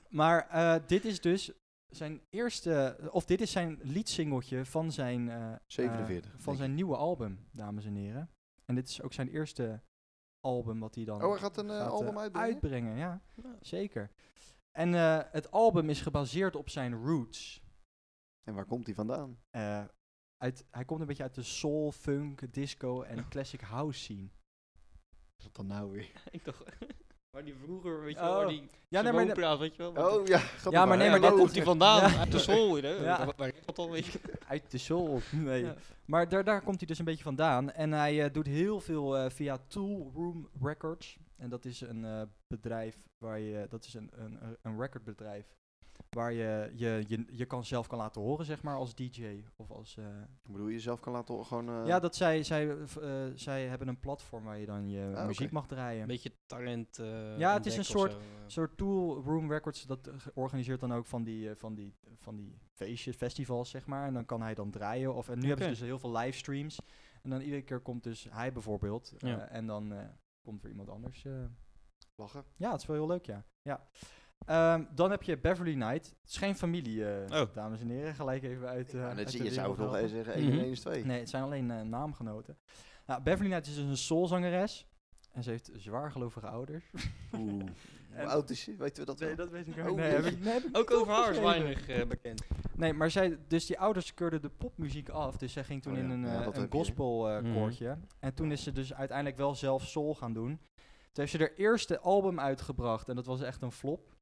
Speaker 1: Maar eh, dit is dus zijn eerste, of dit is zijn liedsingeltje van zijn, eh, eh,
Speaker 2: 47,
Speaker 1: van
Speaker 2: denk
Speaker 1: zijn nieuwe album, dames en heren. En dit is ook zijn eerste album wat hij dan
Speaker 2: Oh, hij gaat een eh,
Speaker 1: gaat, eh,
Speaker 2: album uitbrengen?
Speaker 1: uitbrengen. Ja, zeker. En eh, het album is gebaseerd op zijn roots.
Speaker 2: En waar komt hij vandaan?
Speaker 1: Eh, uit, hij komt een beetje uit de soul, funk, disco en classic house scene.
Speaker 2: Wat dan nou weer?
Speaker 3: Ik dacht, waar die vroeger, weet je wel, waar
Speaker 1: Oh.
Speaker 3: die
Speaker 1: Ja, nee, maar, de-
Speaker 3: praat, weet je wel.
Speaker 2: Oh ja, gaat
Speaker 1: Ja, maar
Speaker 3: nee, maar
Speaker 1: dat-
Speaker 3: waar komt hij vandaan?
Speaker 1: Ja.
Speaker 3: Uit de school, hè?
Speaker 1: Ja.
Speaker 3: Waar- Waar is dat dan, weet je?
Speaker 1: uit de soul. Nee.
Speaker 3: Ja.
Speaker 1: Maar daar, daar komt hij dus een beetje vandaan. En hij eh, doet heel veel eh, via Tool Room Records. En dat is een eh, bedrijf waar je. Dat is een, een, een recordbedrijf. Waar je je, je je kan zelf kan laten horen, zeg maar, als DJ. Of als. eh,
Speaker 2: Ik bedoel, jezelf kan laten gewoon... eh,
Speaker 1: ja, dat zij, zij, eh, v- eh, zij hebben een platform waar je dan je
Speaker 2: Ah,
Speaker 1: muziek
Speaker 2: oké.
Speaker 1: mag draaien.
Speaker 3: Een beetje talent. eh,
Speaker 1: Ja, het is
Speaker 3: ontdekken
Speaker 1: een
Speaker 3: of
Speaker 1: soort-
Speaker 3: zo, eh.
Speaker 1: Zo'n Tool Room Records, dat eh, ge- organiseert dan ook van die, eh, van, die, van die feestjes, festivals, zeg maar. En dan kan hij dan draaien. Of, en nu hebben ze
Speaker 3: Oké.
Speaker 1: dus heel veel livestreams. En dan iedere keer komt dus hij bijvoorbeeld. eh,
Speaker 3: Ja.
Speaker 1: en dan eh, komt er iemand anders. eh.
Speaker 2: Lachen.
Speaker 1: Ja, het is wel heel leuk, ja. ja. Ehm, dan heb je Beverly Knight. Het is geen familie, eh,
Speaker 3: Oh.
Speaker 1: dames en heren. Gelijk even uit, eh
Speaker 2: Ja,
Speaker 1: uit
Speaker 2: dat
Speaker 1: de
Speaker 2: zie je, zou
Speaker 1: wereld
Speaker 2: ik nog
Speaker 1: helpen.
Speaker 2: eens zeggen, 1 en
Speaker 3: Mhm.
Speaker 2: 1 is 2.
Speaker 1: Nee, het zijn alleen eh, naamgenoten. Nou, Beverly Knight is dus een soulzangeres. En ze heeft zwaargelovige ouders.
Speaker 2: Oeh. Hoe
Speaker 1: En-
Speaker 2: oud Oh. is ze? Weten we dat wel?
Speaker 1: dat weet ik
Speaker 2: ook
Speaker 1: Nee,
Speaker 2: niet.
Speaker 1: heb ik, nee, heb ik
Speaker 3: Ook
Speaker 1: niet
Speaker 3: over haar is
Speaker 1: opgeschreven.
Speaker 3: weinig eh, bekend.
Speaker 1: Nee, maar zij, dus die ouders keurden de popmuziek af. Dus zij ging toen
Speaker 2: Oh ja.
Speaker 1: in een,
Speaker 2: Ja,
Speaker 1: eh,
Speaker 2: dat
Speaker 1: een
Speaker 2: heb je, hè?
Speaker 1: gospel eh,
Speaker 3: Mhm.
Speaker 1: koortje. En toen is ze dus uiteindelijk wel zelf soul gaan doen. Toen heeft ze haar eerste album uitgebracht en dat was echt een flop.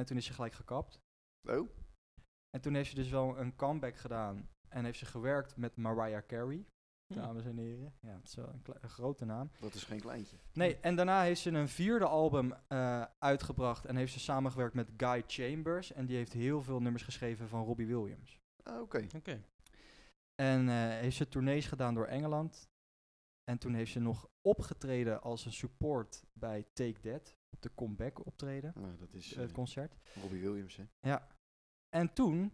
Speaker 1: En toen is ze gelijk gekapt.
Speaker 2: Oh,
Speaker 1: En toen heeft ze dus wel een comeback gedaan. En heeft ze gewerkt met Mariah Carey,
Speaker 3: Hm.
Speaker 1: dames en heren. Ja, het is wel een, kle- een grote naam.
Speaker 2: dat is geen kleintje.
Speaker 1: Nee, en daarna heeft ze een vierde album eh, uitgebracht. En heeft ze samengewerkt met Guy Chambers. En die heeft heel veel nummers geschreven van Robbie Williams.
Speaker 2: Ah, oké.
Speaker 3: Oké.
Speaker 1: En eh, heeft ze tournees gedaan door Engeland. En toen heeft ze nog opgetreden als een support bij Take That. Op de comeback optreden,
Speaker 2: Nou, dat is
Speaker 1: eh, het
Speaker 2: eh,
Speaker 1: concert.
Speaker 2: Robbie Williams, hè.
Speaker 1: En toen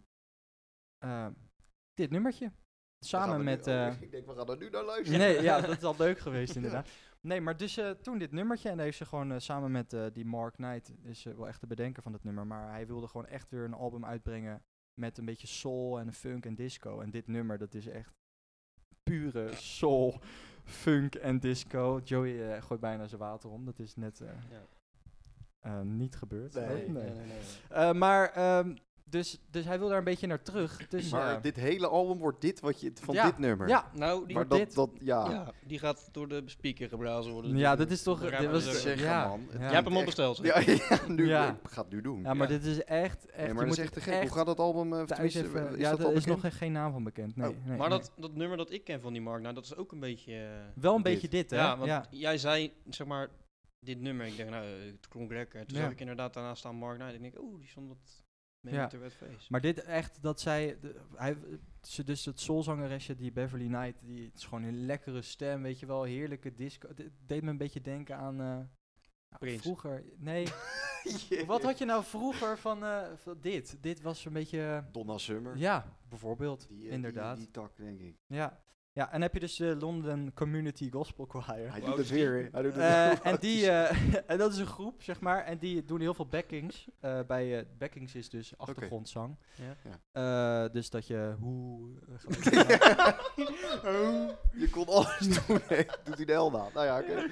Speaker 1: eh, dit nummertje. Samen
Speaker 2: Daar gaan we
Speaker 1: met...
Speaker 2: nu- oh,
Speaker 1: eh,
Speaker 2: ik denk, we gaan er nu naar luisteren.
Speaker 1: nee, ja, dat is al leuk geweest inderdaad. Nee, maar dus eh, toen dit nummertje. En daar heeft ze gewoon eh, samen met eh, die Mark Knight, is eh, wel echt de bedenker van dat nummer. Maar hij wilde gewoon echt weer een album uitbrengen met een beetje soul en funk en disco. En dit nummer, dat is echt pure soul, funk en disco. Joey eh, gooit bijna zijn water om. Dat is net eh,
Speaker 3: Ja.
Speaker 1: eh, niet gebeurd.
Speaker 2: Nee,
Speaker 1: Oh,
Speaker 2: nee,
Speaker 1: Eh, maar, ehm, dus, dus hij wil daar een beetje naar terug. Dus,
Speaker 2: Maar
Speaker 1: eh,
Speaker 2: dit hele album wordt dit wat je van
Speaker 1: Ja,
Speaker 2: dit nummer.
Speaker 1: ja,
Speaker 3: Nou, die,
Speaker 2: maar
Speaker 1: wordt
Speaker 2: dat,
Speaker 1: dit.
Speaker 2: dat ja.
Speaker 3: ja, die gaat door de speaker geblazen worden.
Speaker 1: ja, dat is toch...
Speaker 3: Daar
Speaker 1: Dit
Speaker 3: gaan we
Speaker 1: was, dus
Speaker 3: zo.
Speaker 2: te
Speaker 3: het-
Speaker 2: zeggen,
Speaker 1: ja,
Speaker 2: man. Het
Speaker 1: ja.
Speaker 3: Jij hebt hem al
Speaker 2: echt-
Speaker 3: besteld. hè?
Speaker 2: Ja, ja, nu
Speaker 1: Ja.
Speaker 2: ik ga het nu doen.
Speaker 1: Ja, maar
Speaker 3: Ja.
Speaker 1: dit is echt... echt
Speaker 2: Nee,
Speaker 1: je
Speaker 2: maar dat
Speaker 1: moet
Speaker 2: is echt
Speaker 1: het
Speaker 2: te gek. Hoe gaat dat album? eh,
Speaker 1: Thuis
Speaker 2: tenminste,
Speaker 1: Nou, even-
Speaker 2: eh, is
Speaker 1: ja,
Speaker 2: dat
Speaker 1: er
Speaker 2: al
Speaker 1: is
Speaker 2: bekend?
Speaker 1: nog geen naam van bekend. Nee,
Speaker 2: Oh,
Speaker 1: nee,
Speaker 3: Maar
Speaker 1: nee.
Speaker 3: dat, dat nummer dat ik ken van die Mark, nou, dat is ook een beetje... eh,
Speaker 1: Wel een
Speaker 2: dit.
Speaker 1: beetje dit, hè?
Speaker 3: ja, want jij zei, zeg maar, dit nummer. Ik dacht, nou, eh, het klonk lekker. Toen
Speaker 1: Ja.
Speaker 3: zag ik inderdaad daarna staan Mark Knight. En ik denk, oeh, die stond wat mee
Speaker 1: Ja.
Speaker 3: met de red face.
Speaker 1: Maar dit echt, dat zij... de- hij, ze, dus het soulzangeresje, die Beverly Knight, die, het is gewoon een lekkere stem, weet je wel. Heerlijke disco. Het deed me een beetje denken aan... eh, ja,
Speaker 3: Prins.
Speaker 1: vroeger. Nee. Wat had je nou vroeger van, eh, van dit? Dit was een beetje... eh,
Speaker 2: Donna Summer.
Speaker 1: ja, bijvoorbeeld.
Speaker 2: Die, eh, die-
Speaker 1: inderdaad.
Speaker 2: Die, tak, denk ik.
Speaker 1: Ja. ja, en dan heb je dus de London Community Gospel Choir.
Speaker 2: Hij
Speaker 3: Hoe
Speaker 2: doet
Speaker 3: oud
Speaker 2: het
Speaker 3: is die?
Speaker 2: weer. hè. Hij doet het
Speaker 1: Eh,
Speaker 2: weer.
Speaker 1: en, die, eh, en dat is een groep, zeg maar. En die doen heel veel backings. Eh, bij eh, backings is dus achtergrondzang.
Speaker 3: Ja.
Speaker 1: Eh, dus dat je hoe... eh, gelijk-
Speaker 2: Je kon alles doen. hè. Doet hij de hel na. Nou ja, oké.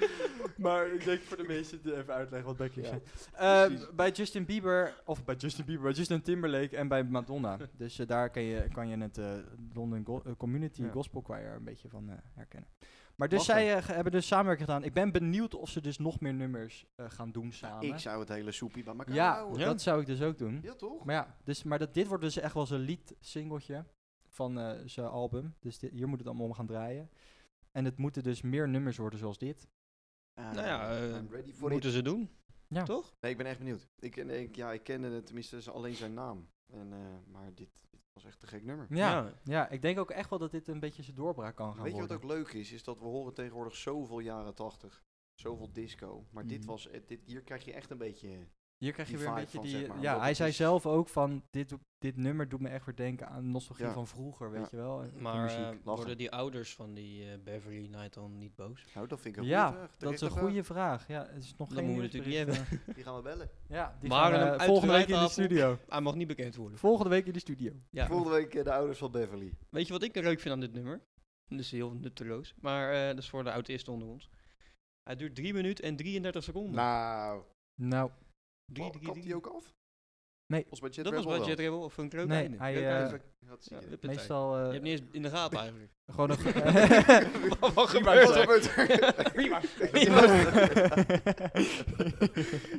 Speaker 1: maar ik denk voor de meesten te even uitleggen wat backings
Speaker 2: Ja,
Speaker 1: zijn. Eh,
Speaker 2: precies.
Speaker 1: bij Justin Bieber, of bij Justin Bieber, bij Justin Timberlake en bij Madonna. dus eh, daar kan je, kan je het eh, London Go- eh, Community
Speaker 2: Ja.
Speaker 1: Gospel Choir een beetje van eh, herkennen. Maar dus
Speaker 2: Lachen.
Speaker 1: zij eh, ge- hebben dus samenwerking gedaan. Ik ben benieuwd of ze dus nog meer nummers eh, gaan doen samen.
Speaker 2: Ik zou het hele soepie bij elkaar
Speaker 1: ja,
Speaker 2: houden.
Speaker 3: Ja.
Speaker 1: dat zou ik dus ook doen.
Speaker 2: Ja, toch?
Speaker 1: Maar ja, dus, maar dat, dit wordt dus echt wel zijn lied singeltje van eh, zijn album. Dus dit- hier moet het allemaal om gaan draaien. En het moeten dus meer nummers worden zoals dit.
Speaker 2: Ah,
Speaker 3: Nou ja, eh,
Speaker 2: I'm ready for it.
Speaker 3: Moeten ze doen.
Speaker 1: Ja.
Speaker 3: Toch?
Speaker 2: Nee, ik ben echt benieuwd. Ik, en ik, ja, ik kende het, tenminste z- alleen zijn naam. En, eh, maar dit, dit was echt een gek nummer.
Speaker 1: Ja, ja. ik denk ook echt wel dat dit een beetje zijn doorbraak kan gaan
Speaker 2: Weet je wat
Speaker 1: worden.
Speaker 2: ook leuk is? Is dat we horen tegenwoordig zoveel jaren tachtig. Zoveel disco. Maar dit
Speaker 1: Mhm.
Speaker 2: was, eh, dit, hier krijg je echt een beetje
Speaker 1: Hier krijg je
Speaker 2: die
Speaker 1: weer een
Speaker 2: vibe
Speaker 1: beetje
Speaker 2: van,
Speaker 1: die...
Speaker 2: zeg maar,
Speaker 1: ja,
Speaker 2: wat
Speaker 1: hij
Speaker 2: het
Speaker 1: zei
Speaker 2: is.
Speaker 1: zelf ook van, dit, dit nummer doet me echt weer denken aan nostalgie
Speaker 2: Ja.
Speaker 1: van vroeger, weet
Speaker 2: Ja.
Speaker 1: je wel. En die
Speaker 3: Maar
Speaker 1: muziek.
Speaker 3: eh,
Speaker 2: lachen.
Speaker 3: worden die ouders van die eh, Beverly Knight dan niet boos?
Speaker 2: Nou, dat vind ik een
Speaker 1: Ja,
Speaker 2: goede vraag.
Speaker 1: dat is een
Speaker 2: Terechte
Speaker 1: goede vraag. Ja, het is nog
Speaker 3: Dat
Speaker 1: geen
Speaker 3: moeten we natuurlijk
Speaker 1: nieuwsbericht,
Speaker 2: vraag. Die gaan we bellen.
Speaker 1: eh. Ja, die
Speaker 3: Maar
Speaker 1: gaan,
Speaker 3: een
Speaker 1: eh, volgende week in de
Speaker 3: uitgebreid
Speaker 1: studio.
Speaker 3: Hij mag niet bekend worden.
Speaker 1: Volgende week in de studio.
Speaker 3: Ja.
Speaker 2: Volgende week eh, de ouders van Beverly.
Speaker 3: Weet je wat ik leuk vind aan dit nummer? Dat is heel nutteloos. Maar eh, dat is voor de autisten onder ons. Hij duurt 3 minuten en 33 seconden.
Speaker 2: Nou,
Speaker 1: Nou,
Speaker 3: Drie,
Speaker 2: wa-
Speaker 3: drie,
Speaker 2: kapt
Speaker 3: drie.
Speaker 2: die ook af?
Speaker 1: Nee.
Speaker 2: Volgens mij Jet
Speaker 3: Dat was
Speaker 2: Rebel
Speaker 3: wat je
Speaker 2: wel.
Speaker 3: Rebel of een Crow
Speaker 1: Nee,
Speaker 3: Lightning.
Speaker 1: hij,
Speaker 3: Crow
Speaker 1: eh,
Speaker 3: Lightning.
Speaker 2: Ja, dat zie
Speaker 3: Ja,
Speaker 2: je.
Speaker 3: huppatee.
Speaker 1: meestal eh,
Speaker 3: Je hebt niet eens in de gaten eigenlijk.
Speaker 1: gewoon een...
Speaker 3: wat, wat
Speaker 2: Maar wat
Speaker 3: gebeurt er?
Speaker 2: gebeurt er?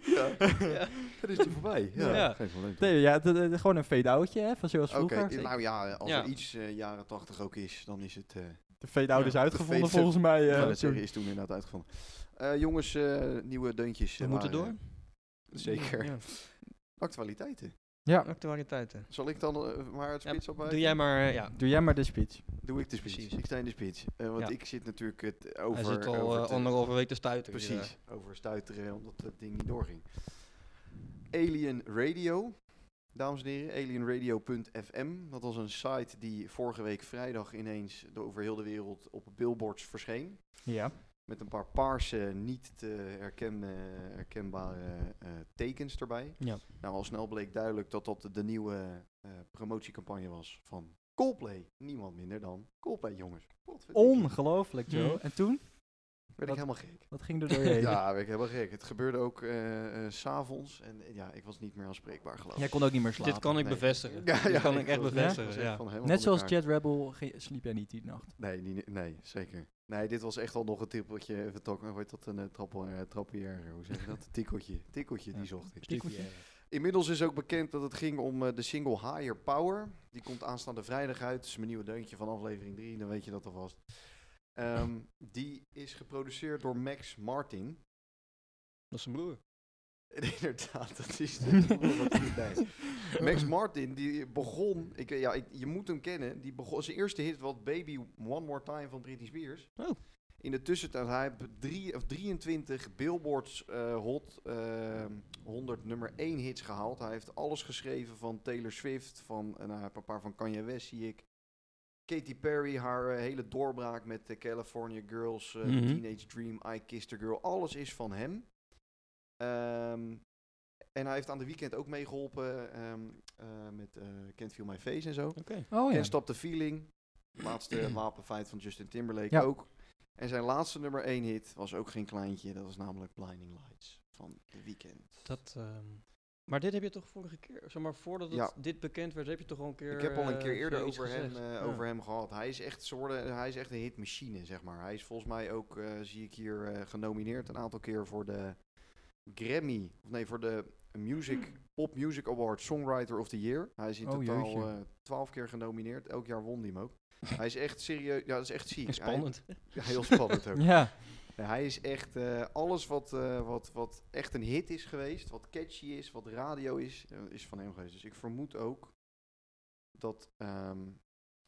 Speaker 2: Ja. Het is er voorbij. Ja,
Speaker 3: Ja.
Speaker 2: geen probleem.
Speaker 1: Nee, ja, het- het- het- gewoon een fade-outje, hè, van zoals
Speaker 2: Oké,
Speaker 1: vroeger.
Speaker 2: eh, nou ja, als
Speaker 3: Ja.
Speaker 2: er iets eh, jaren tachtig ook is, dan is het... eh
Speaker 1: De fade-out
Speaker 3: Ja,
Speaker 1: is
Speaker 3: de
Speaker 1: uitgevonden
Speaker 2: fade-
Speaker 1: volgens mij.
Speaker 2: ik
Speaker 1: eh,
Speaker 2: wou net
Speaker 1: toen.
Speaker 2: zeggen, is toen inderdaad uitgevonden. Eh, jongens, eh, nieuwe deuntjes.
Speaker 3: We
Speaker 2: eh,
Speaker 3: moeten door.
Speaker 2: waren, eh, Zeker.
Speaker 3: Ja.
Speaker 2: Actualiteiten.
Speaker 1: Ja,
Speaker 3: Actualiteiten.
Speaker 2: Zal ik dan eh, maar het
Speaker 3: Ja,
Speaker 2: spits opmaken?
Speaker 3: Doe jij maar, eh, ja.
Speaker 1: doe jij maar de speech.
Speaker 2: Doe ik de speech.
Speaker 3: Precies.
Speaker 2: Ik sta in de speech. Eh, want
Speaker 3: Ja.
Speaker 2: ik zit natuurlijk het
Speaker 3: Hij
Speaker 2: over...
Speaker 3: zit al
Speaker 2: over
Speaker 3: eh,
Speaker 2: te-
Speaker 3: anderhalve week te eh. stuiten.
Speaker 2: Precies, over stuiteren omdat het ding niet doorging. Alien Radio, dames en heren, alienradio.fm. Dat was een site die vorige week vrijdag ineens door- over heel de wereld op billboards verscheen.
Speaker 1: Ja.
Speaker 2: Met een paar paarse, niet te herken- eh, herkenbare eh, tekens erbij.
Speaker 3: Ja.
Speaker 2: Nou, al snel bleek duidelijk dat dat de nieuwe eh, promotiecampagne was van Coldplay. Niemand minder dan Coldplay, jongens. Godverdikke.
Speaker 1: Ongelooflijk, Joe.
Speaker 3: Mm.
Speaker 1: En toen?
Speaker 2: Werd ik
Speaker 1: wat-
Speaker 2: helemaal gek.
Speaker 1: Wat ging er door je heen?
Speaker 2: Ja, ben ik helemaal gek. Het gebeurde ook eh, eh, s s'avonds. En eh, ja, ik was niet meer aanspreekbaar, geloof ik.
Speaker 1: Jij kon ook niet meer slapen.
Speaker 3: Dit kan ik
Speaker 2: Nee.
Speaker 3: bevestigen. Dit kan ik echt
Speaker 2: was-
Speaker 3: bevestigen.
Speaker 2: was echt
Speaker 3: ja.
Speaker 2: van helemaal
Speaker 1: Net
Speaker 2: van
Speaker 1: zoals
Speaker 2: elkaar.
Speaker 1: Jet Rebel ge- sliep jij niet die nacht.
Speaker 2: Nee, niet, nee, zeker. Nee, dit was echt al nog een tippeltje. Even tok, hoe heet dat? Een eh, trappel, eh, trappier, hoe zeg je dat? Een tikkeltje. Tikkeltje, die
Speaker 1: Ja.
Speaker 2: zocht ik.
Speaker 1: Tikkeltje.
Speaker 2: Inmiddels is ook bekend dat het ging om eh, de single Higher Power. Die komt aanstaande vrijdag uit. Dat is mijn nieuwe deuntje van aflevering 3. Dan weet je dat alvast. Ehm, die is geproduceerd door Max Martin.
Speaker 3: Dat is zijn broer.
Speaker 2: Inderdaad, dat is de boel wat hij deed. Max Martin, die begon, ik, ja, ik- je moet hem kennen, die begon, zijn eerste hit was Baby One More Time van Britney Spears.
Speaker 3: Oh.
Speaker 2: In de tussentijd, hij heeft drie, of 23 Billboards eh, Hot eh, 100 nummer 1 hits gehaald. Hij heeft alles geschreven van Taylor Swift, van en hij heeft een paar van Kanye West zie ik. Katy Perry, haar eh, hele doorbraak met de California Girls, eh,
Speaker 3: Mhm.
Speaker 2: Teenage Dream, I Kissed a Girl. Alles is van hem. Ehm, en hij heeft aan de weekend ook meegeholpen ehm, eh, met eh Can't Feel My Face en zo.
Speaker 1: Oh ja.
Speaker 2: Can't Stop the Feeling, laatste wapenfeit van Justin Timberlake
Speaker 1: Ja.
Speaker 2: ook. En zijn laatste nummer 1 hit was ook geen kleintje, dat was namelijk Blinding Lights van The Weeknd.
Speaker 3: Dat, ehm, maar dit heb je toch vorige keer, zeg maar voordat het
Speaker 2: Ja.
Speaker 3: dit bekend werd, heb je toch al een keer.
Speaker 2: Ik heb al een
Speaker 3: eh,
Speaker 2: keer eerder
Speaker 3: zoiets
Speaker 2: over hem,
Speaker 3: gezegd?
Speaker 2: eh,
Speaker 3: Ja.
Speaker 2: over hem gehad. Hij is, echt, soorten, hij is echt een hitmachine, zeg maar. Hij is volgens mij ook, eh, zie ik hier, eh, genomineerd een aantal keer voor de Grammy. Of nee, voor de Music, Pop Music Award Songwriter of the Year. Hij is in
Speaker 1: Oh,
Speaker 2: totaal
Speaker 1: jeetje.
Speaker 2: eh, 12 keer genomineerd. Elk jaar won hij hem ook. Hij is echt serieus, ja, dat is echt ziek. Hij-
Speaker 3: Spannend.
Speaker 2: ja, heel spannend ook.
Speaker 1: Ja.
Speaker 2: Nee, hij is echt eh, alles wat, eh, wat, wat echt een hit is geweest, wat catchy is, wat radio is, eh, is van hem geweest. Dus ik vermoed ook dat ehm,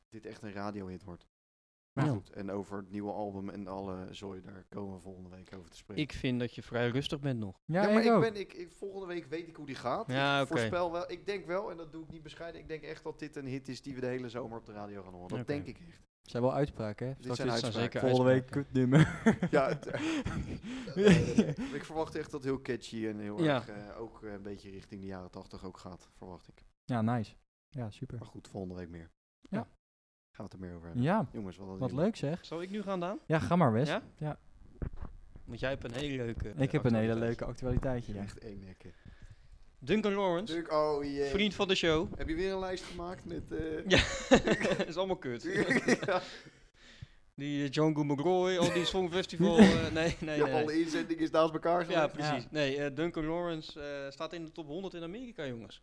Speaker 2: dit echt een radiohit wordt. Maar
Speaker 1: Ja.
Speaker 2: goed, en over het nieuwe album en alle zooi, daar komen we volgende week over te spreken.
Speaker 3: Ik vind dat je vrij rustig bent nog.
Speaker 1: Ja,
Speaker 2: maar
Speaker 1: ik ook.
Speaker 2: ben, ik, ik- volgende week weet ik hoe die gaat.
Speaker 3: Ja,
Speaker 2: ik
Speaker 3: oké.
Speaker 2: voorspel wel, ik denk wel, en dat doe ik niet bescheiden, ik denk echt dat dit een hit is die we de hele zomer op de radio gaan horen. Dat
Speaker 3: Oké.
Speaker 2: denk ik echt.
Speaker 1: zijn wel uitspraken, hè?
Speaker 2: Dit
Speaker 1: Straks
Speaker 2: zijn
Speaker 1: is-
Speaker 3: uitspraken.
Speaker 2: uitspraken.
Speaker 3: zeker
Speaker 1: volgende week kutnummer.
Speaker 3: uitspraken.
Speaker 2: Ja, eh, het- Nee, nee, nee. ik verwacht echt dat heel catchy en heel
Speaker 3: Ja.
Speaker 2: erg eh, ook eh, een beetje richting de jaren 80 ook gaat, verwacht ik.
Speaker 1: Ja, nice. Ja, super.
Speaker 2: Maar goed, volgende week meer.
Speaker 1: Ja.
Speaker 2: Gaan we het er meer over hebben.
Speaker 1: Ja,
Speaker 2: Jongens, wat, een
Speaker 1: wat
Speaker 2: heerlijk.
Speaker 1: leuk zeg.
Speaker 3: Zal ik nu gaan, Daan?
Speaker 1: Ja, ga maar, Wes.
Speaker 3: Ja?
Speaker 1: Ja.
Speaker 3: Want jij hebt een hele leuke. eh,
Speaker 1: Ik heb een hele
Speaker 3: actualiteit.
Speaker 1: leuke actualiteitje. Ja.
Speaker 2: Echt één hekken.
Speaker 3: Duncan Lawrence,
Speaker 2: Natuurlijk, oh jee.
Speaker 3: vriend van de show.
Speaker 2: Heb je weer een lijst gemaakt met... eh,
Speaker 3: Ja, is allemaal kut.
Speaker 2: ja,
Speaker 3: Die eh, Django McGroy, al die songfestival. eh, nee, nee,
Speaker 2: ja,
Speaker 3: nee. nee.
Speaker 2: alle inzendingen is naast elkaar
Speaker 3: Ja,
Speaker 2: gelegd.
Speaker 3: precies. Nee, eh, Duncan Lawrence eh, staat in de top 100 in Amerika, jongens.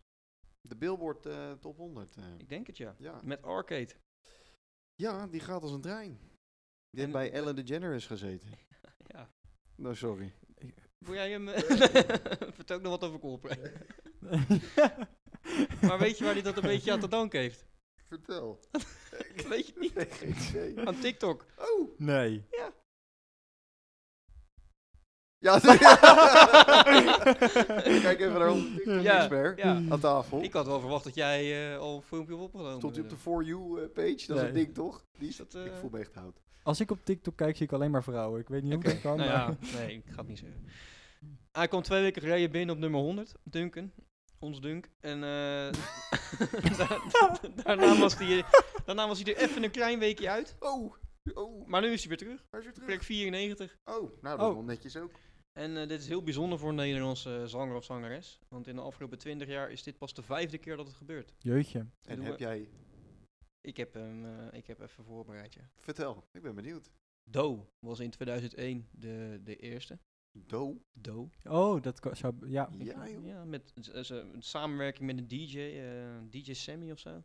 Speaker 2: De Billboard eh, Top 100. eh,
Speaker 3: Ik denk het ja.
Speaker 2: ja.
Speaker 3: Met Arcade.
Speaker 2: ja, die gaat als een trein. Die heeft
Speaker 3: En-
Speaker 2: bij Ellen DeGeneres gezeten.
Speaker 3: Ja.
Speaker 2: Nou, sorry.
Speaker 3: Wil jij hem... eh, Vertel ook nog wat over Coldplay. Maar weet je waar hij dat een beetje aan te danken heeft?
Speaker 2: Vertel.
Speaker 3: Weet je het niet?
Speaker 2: Nee, geen idee.
Speaker 3: Aan TikTok.
Speaker 2: Oh!
Speaker 1: Nee.
Speaker 2: Ja, kijk even naar onze
Speaker 3: Ja,
Speaker 2: TikTok-expert
Speaker 3: ja.
Speaker 2: aan tafel.
Speaker 3: Ik had wel verwacht dat jij eh, al een filmpje op opgenomen.
Speaker 2: Stond hij op de
Speaker 3: eh,
Speaker 2: For You-page? Dat is een
Speaker 1: Nee.
Speaker 2: ding, toch? Die
Speaker 3: is dat, eh,
Speaker 2: Ik voel me echt oud.
Speaker 1: Als ik op TikTok kijk, zie ik alleen maar vrouwen. Ik weet niet hoe dat kan.
Speaker 3: nou
Speaker 1: maar-
Speaker 3: ja, nee, ik ga het niet zeggen. Hij kwam twee weken geleden binnen op nummer 100, Duncan. Ons Dunk. En eh, da- daarna, was hij, eh, daarna was hij er even een klein weekje uit.
Speaker 2: Oh, oh,
Speaker 3: Maar nu is hij weer terug,
Speaker 2: waar is je terug?
Speaker 3: plek 94.
Speaker 2: Oh, nou, dat is
Speaker 1: Oh.
Speaker 2: wel netjes ook.
Speaker 3: En eh, dit is heel bijzonder voor een Nederlandse zanger of zangeres. Want in de afgelopen 20 jaar is dit pas de vijfde keer dat het gebeurt.
Speaker 1: Jeugdje.
Speaker 2: En
Speaker 3: Doe
Speaker 2: heb
Speaker 3: maar.
Speaker 2: jij...
Speaker 3: Ik heb hem eh, ik heb even voorbereid, ja.
Speaker 2: Vertel, ik ben benieuwd.
Speaker 3: Do was in 2001 de, de eerste.
Speaker 2: Do?
Speaker 3: Do.
Speaker 1: Oh, dat ko- zou... Ja.
Speaker 3: Ah.
Speaker 2: Ja, joh.
Speaker 3: Ja, met z- z- een samenwerking met een DJ, eh, DJ Sammy of zo.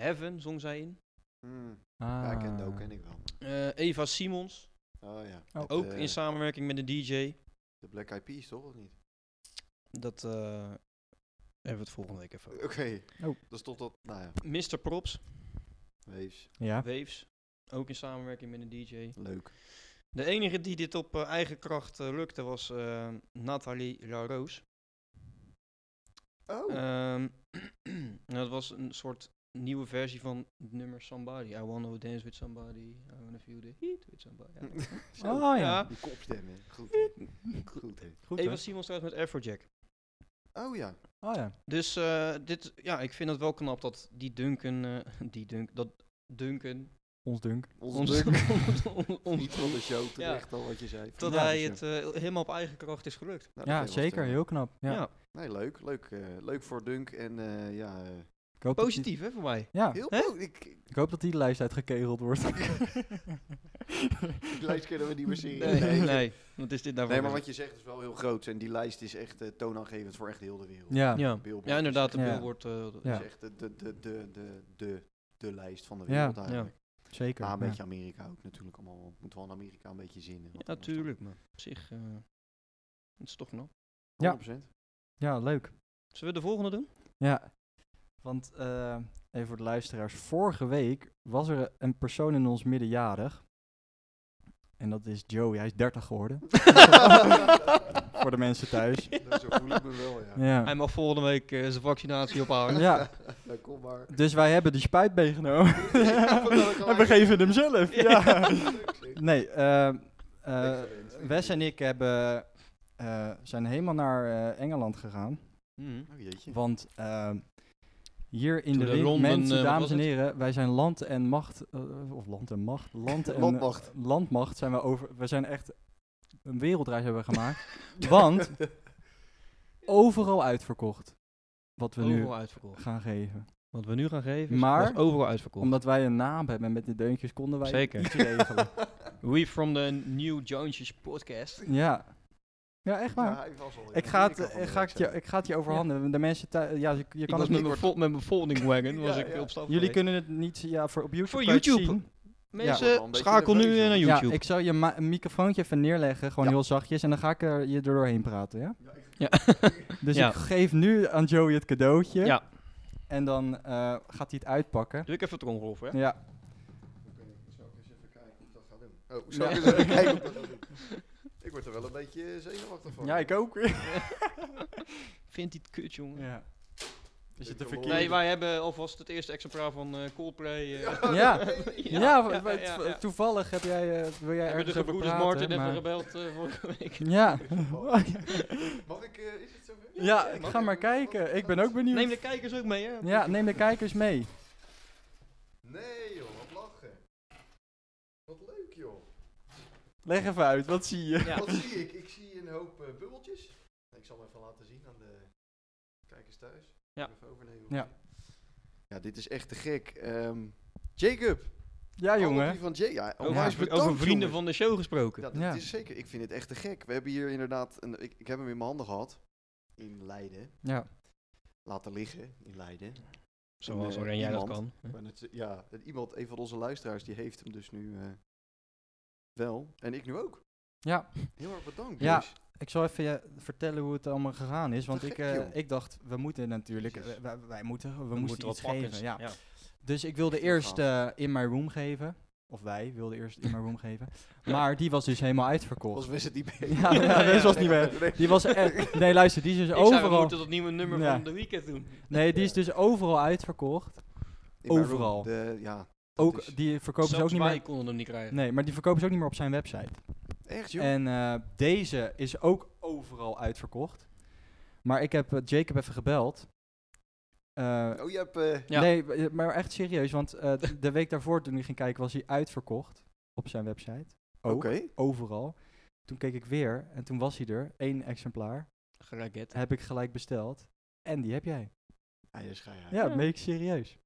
Speaker 3: Heaven zong zij in.
Speaker 2: Hmm,
Speaker 1: Ah.
Speaker 2: Ja, ik ken Do, ken ik wel.
Speaker 3: Eh, Eva Simons,
Speaker 2: Oh ja.
Speaker 1: Oh.
Speaker 2: Met,
Speaker 3: ook
Speaker 2: eh,
Speaker 3: in samenwerking met een DJ.
Speaker 2: De Black Eyed Peas, toch? Of niet?
Speaker 3: Dat eh, hebben we het volgende week even.
Speaker 2: Oké.
Speaker 3: over.
Speaker 1: Oh.
Speaker 2: Dus tot dat... Nou ja,
Speaker 3: Mr. Props,
Speaker 2: wees.
Speaker 1: Ja.
Speaker 3: Waves, ook in samenwerking met een DJ.
Speaker 2: Leuk.
Speaker 3: De enige die dit op eh, eigen kracht eh, lukte was eh, Nathalie LaRose.
Speaker 2: Oh.
Speaker 3: Ehm, dat was een soort nieuwe versie van het nummer Somebody. I wanna dance with somebody. I wanna feel the heat with somebody. I wanna-
Speaker 2: Zo,
Speaker 3: ah.
Speaker 1: Oh ja.
Speaker 2: Die kopstem, hè. Goed, hè. Goed, hè.
Speaker 1: Goed
Speaker 3: Eva
Speaker 1: hè?
Speaker 3: Simons trouwens met Afrojack.
Speaker 2: Oh ja.
Speaker 1: Oh ja.
Speaker 3: Dus eh, dit, ja, ik vind het wel knap dat die Duncan, eh, die Dunk, dat Duncan,
Speaker 1: Ons dunk.
Speaker 2: Onze druk.
Speaker 3: ons-
Speaker 2: Niet van de show, terecht al wat je zei.
Speaker 3: dat
Speaker 1: Ja,
Speaker 3: hij
Speaker 1: dus,
Speaker 3: het eh, helemaal op eigen kracht is gelukt.
Speaker 2: Nou, dat kan
Speaker 1: Ja,
Speaker 2: je wel
Speaker 1: zeker.
Speaker 2: stellen.
Speaker 1: Heel knap. Ja.
Speaker 3: Ja,
Speaker 2: Nee, leuk. Leuk, eh, leuk voor Dunk. En eh, ja, eh,
Speaker 1: Ik hoop dat die-
Speaker 3: positief hè voor mij.
Speaker 1: Ah. Ja.
Speaker 2: heel
Speaker 3: Hè?
Speaker 2: leuk. Ik, ik-
Speaker 1: Ik hoop dat die de lijst uitgekegeld wordt.
Speaker 2: die lijst kennen we niet meer zien.
Speaker 3: Nee, nee, wat is dit nou voor
Speaker 2: Nee, maar
Speaker 3: een-
Speaker 2: wat je zegt is wel heel groot. En die lijst is echt eh, toonaangevend voor echt heel de wereld.
Speaker 1: ja.
Speaker 3: ja.
Speaker 2: Billboard
Speaker 3: ja, inderdaad, de
Speaker 1: Ja.
Speaker 3: billboard. eh, dat-
Speaker 2: is
Speaker 1: Ja.
Speaker 2: echt de, de, de, de, de, de, de lijst van de
Speaker 1: Ja.
Speaker 2: wereld
Speaker 1: Ja.
Speaker 2: eigenlijk.
Speaker 1: Zeker.
Speaker 2: Maar een
Speaker 1: ja.
Speaker 2: beetje Amerika ook natuurlijk allemaal. want het Moet wel in Amerika een beetje zinnen.
Speaker 3: Ja, natuurlijk, maar op zich, eh, het is toch knap.
Speaker 1: Ja.
Speaker 2: 100%.
Speaker 1: Ja, leuk.
Speaker 3: Zullen we de volgende doen?
Speaker 1: Ja. Want, eh, even voor de luisteraars. Vorige week was er een persoon in ons middenjarig. En dat is Joey. Hij is 30 geworden. voor de mensen thuis.
Speaker 2: Nou, Zo voel ik me wel, ja.
Speaker 3: Hij
Speaker 1: Ja.
Speaker 3: mag volgende week eh, zijn vaccinatie ophalen.
Speaker 1: ja.
Speaker 2: Nou, kom maar.
Speaker 1: Dus wij hebben die spuit meegenomen. en we
Speaker 2: gelijk.
Speaker 1: geven hem zelf. Ja.
Speaker 2: Leuk, zeg.
Speaker 1: Nee, ehm, eh,
Speaker 2: Leuk gewend, leuk
Speaker 1: Wes en
Speaker 2: gewend.
Speaker 1: ik hebben, eh, zijn helemaal naar eh, Engeland gegaan.
Speaker 3: Mhm.
Speaker 2: Oh, jeetje.
Speaker 1: Want ehm, hier in
Speaker 3: Toen
Speaker 1: de
Speaker 3: de
Speaker 1: ring,
Speaker 3: Londen, eh,
Speaker 1: mensen,
Speaker 3: wat
Speaker 1: dames
Speaker 3: was
Speaker 1: en
Speaker 3: het?
Speaker 1: heren, wij zijn land en macht, eh, of land en macht, land en eh,
Speaker 2: Landmacht.
Speaker 1: landmacht zijn we over, we zijn echt een wereldreis hebben we gemaakt. want overal uitverkocht, wat we nu
Speaker 3: Overal uitverkocht.
Speaker 1: gaan geven.
Speaker 3: Wat we nu gaan geven is
Speaker 1: Maar-
Speaker 3: was overal uitverkocht.
Speaker 1: Omdat wij een naam hebben met de deuntjes, konden wij
Speaker 3: Zeker.
Speaker 1: iets regelen.
Speaker 3: We from the New Jonesjes podcast.
Speaker 1: ja. ja, echt waar.
Speaker 2: Ja, hij was al in
Speaker 1: Ik ga, het,
Speaker 2: Amerika van
Speaker 1: eh,
Speaker 2: de
Speaker 1: ga,
Speaker 2: week,
Speaker 1: ik je,
Speaker 2: zei
Speaker 1: ik ga het je overhandelen. De mensen thuis, ja, je, je
Speaker 3: Ik
Speaker 1: kan het
Speaker 3: was met
Speaker 1: niet,
Speaker 3: mijn, vo- met mijn folding wagon was
Speaker 2: Ja,
Speaker 3: ik
Speaker 2: ja.
Speaker 3: op stap
Speaker 1: jullie
Speaker 3: geweest.
Speaker 1: kunnen het niet ja, voor, op YouTube
Speaker 3: Voor
Speaker 1: kan je het
Speaker 3: YouTube.
Speaker 1: zien.
Speaker 3: Mensen,
Speaker 2: Ja.
Speaker 3: schakel nu eh, naar
Speaker 2: Ja,
Speaker 3: YouTube.
Speaker 1: Ja, ik zal je ma- een microfoontje even neerleggen, gewoon
Speaker 2: Ja.
Speaker 1: heel zachtjes, en dan ga ik er je er doorheen praten, ja?
Speaker 3: Ja.
Speaker 1: Dus
Speaker 3: Ja.
Speaker 1: ik geef nu aan Joey het cadeautje,
Speaker 3: Ja.
Speaker 1: en dan eh, gaat hij het uitpakken.
Speaker 3: Doe ik even het ongeloof, hè?
Speaker 1: Ja.
Speaker 2: Zal ik eens even kijken hoe ik dat ga doen? Oh, zal ik eens even kijken hoe ik dat ga doen? Ik word er wel een beetje zenuwachtig van.
Speaker 1: Ja, ik ook.
Speaker 3: Vindt hij het kut, jongen?
Speaker 1: ja. Is het de
Speaker 2: verloren.
Speaker 1: verkeerde?
Speaker 3: Nee, wij hebben alvast het eerste exemplaar van eh, Coldplay. eh,
Speaker 1: Ja, ja, wa- wa- to- toevallig heb jij, eh, wil jij
Speaker 3: Hebben
Speaker 1: ergens
Speaker 3: de
Speaker 1: over
Speaker 3: gebroeders
Speaker 1: praten,
Speaker 3: Martin even
Speaker 1: maar-
Speaker 3: gebeld eh, vorige week.
Speaker 1: Ja.
Speaker 2: Mag ik, eh, is het zover?
Speaker 1: ja, ik ga maar kijken. Ik ben ook benieuwd.
Speaker 3: Neem de kijkers ook mee, hè?
Speaker 1: Ja, neem de kijkers mee.
Speaker 2: Nee joh, wat lachen. Wat leuk joh.
Speaker 1: Leg even uit, wat zie je?
Speaker 3: Ja.
Speaker 2: Wat zie ik? Ik zie een hoop eh, bubbeltjes. Ik zal hem even laten zien aan de kijkers thuis.
Speaker 3: Ja.
Speaker 2: Even overnemen.
Speaker 1: Ja.
Speaker 2: Ja, dit is echt te gek. Ehm, Jacob.
Speaker 1: Ja, jongen.
Speaker 2: Die van J ja,
Speaker 1: Oh,
Speaker 3: Over,
Speaker 2: onwijs
Speaker 3: over
Speaker 2: bedankt,
Speaker 3: vrienden
Speaker 2: jongens.
Speaker 3: van de show gesproken.
Speaker 2: Ja, dat
Speaker 1: Ja.
Speaker 2: is zeker. Ik vind het echt te gek. We hebben hier inderdaad, een, ik, ik heb hem in mijn handen gehad. In Leiden.
Speaker 1: Ja.
Speaker 2: Laten liggen in Leiden.
Speaker 3: Zoals
Speaker 2: eh,
Speaker 3: alleen jij dat kan.
Speaker 2: iemand. Maar het- ja, het- iemand, een van onze luisteraars, die heeft hem dus nu eh, wel. En ik nu ook.
Speaker 1: Ja.
Speaker 2: Heel erg bedankt.
Speaker 1: Ja.
Speaker 2: boys.
Speaker 1: Ik zal even je vertellen hoe het allemaal gegaan is. Want
Speaker 2: Te
Speaker 1: ik,
Speaker 2: gek,
Speaker 1: eh,
Speaker 2: joh.
Speaker 1: ik dacht, we moeten natuurlijk.
Speaker 2: Jezus.
Speaker 1: eh, Wij, wij moeten, we,
Speaker 3: We
Speaker 1: moesten
Speaker 3: moeten
Speaker 1: iets
Speaker 3: wat pakken.
Speaker 1: geven. Ja.
Speaker 3: ja.
Speaker 1: Dus ik wilde
Speaker 2: Echt heel
Speaker 1: eerst eh, in my room geven. Of wij wilden eerst in mijn room geven. Maar die was dus helemaal uitverkocht.
Speaker 2: Was Wes het niet mee?
Speaker 1: Ja, ja, Wes was niet meer. Die was echt. Nee, luister, die is dus
Speaker 3: Ik zou, we
Speaker 1: overal.
Speaker 3: moeten dat nieuwe nummer
Speaker 1: Ja.
Speaker 3: van de weekend doen.
Speaker 1: Nee, die is dus overal uitverkocht.
Speaker 2: In mijn room.
Speaker 1: overal.
Speaker 2: De, ja, dat
Speaker 1: Ook,
Speaker 2: is-
Speaker 1: die verkopen ze ook
Speaker 3: Zelfs
Speaker 1: niet
Speaker 3: wij
Speaker 1: meer.
Speaker 3: konden hem niet krijgen.
Speaker 1: Nee, maar die verkopen ze ook niet meer op zijn website.
Speaker 2: Echt, joh?
Speaker 1: En eh, deze is ook overal uitverkocht. Maar ik heb eh, Jacob even gebeld. Eh,
Speaker 2: Oh, je hebt... eh,
Speaker 3: Ja.
Speaker 1: Nee, eh, maar echt serieus. Want eh, de week daarvoor, toen ik ging kijken, was hij uitverkocht op zijn website.
Speaker 2: Oké.
Speaker 1: Ook, overal. Toen keek ik weer en toen was hij er. Eén exemplaar.
Speaker 3: Geraket.
Speaker 1: Heb ik gelijk besteld. En die heb jij.
Speaker 2: Ah, je schijnt.
Speaker 1: Ja, meen ik serieus.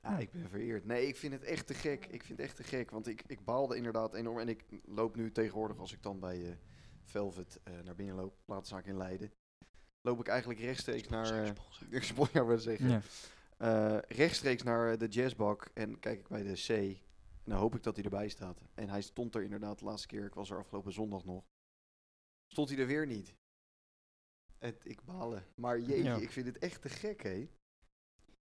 Speaker 2: Ah, ik ben vereerd. Nee, ik vind het echt te gek. Ik vind het echt te gek, want ik, ik baalde inderdaad enorm. En ik loop nu tegenwoordig, als ik dan bij eh, Velvet eh, naar binnen loop, plaatszaak in Leiden, loop ik eigenlijk rechtstreeks naar... eh, Ik spoor jou wel zeggen.
Speaker 1: Ja.
Speaker 2: Eh, rechtstreeks naar eh, de jazzbak en kijk ik bij de C. En dan hoop ik dat hij erbij staat. En hij stond er inderdaad de laatste keer, ik was er afgelopen zondag nog. Stond hij er weer niet. Het, ik balen. Maar jeetje,
Speaker 1: Ja.
Speaker 2: ik vind het echt te gek, hè?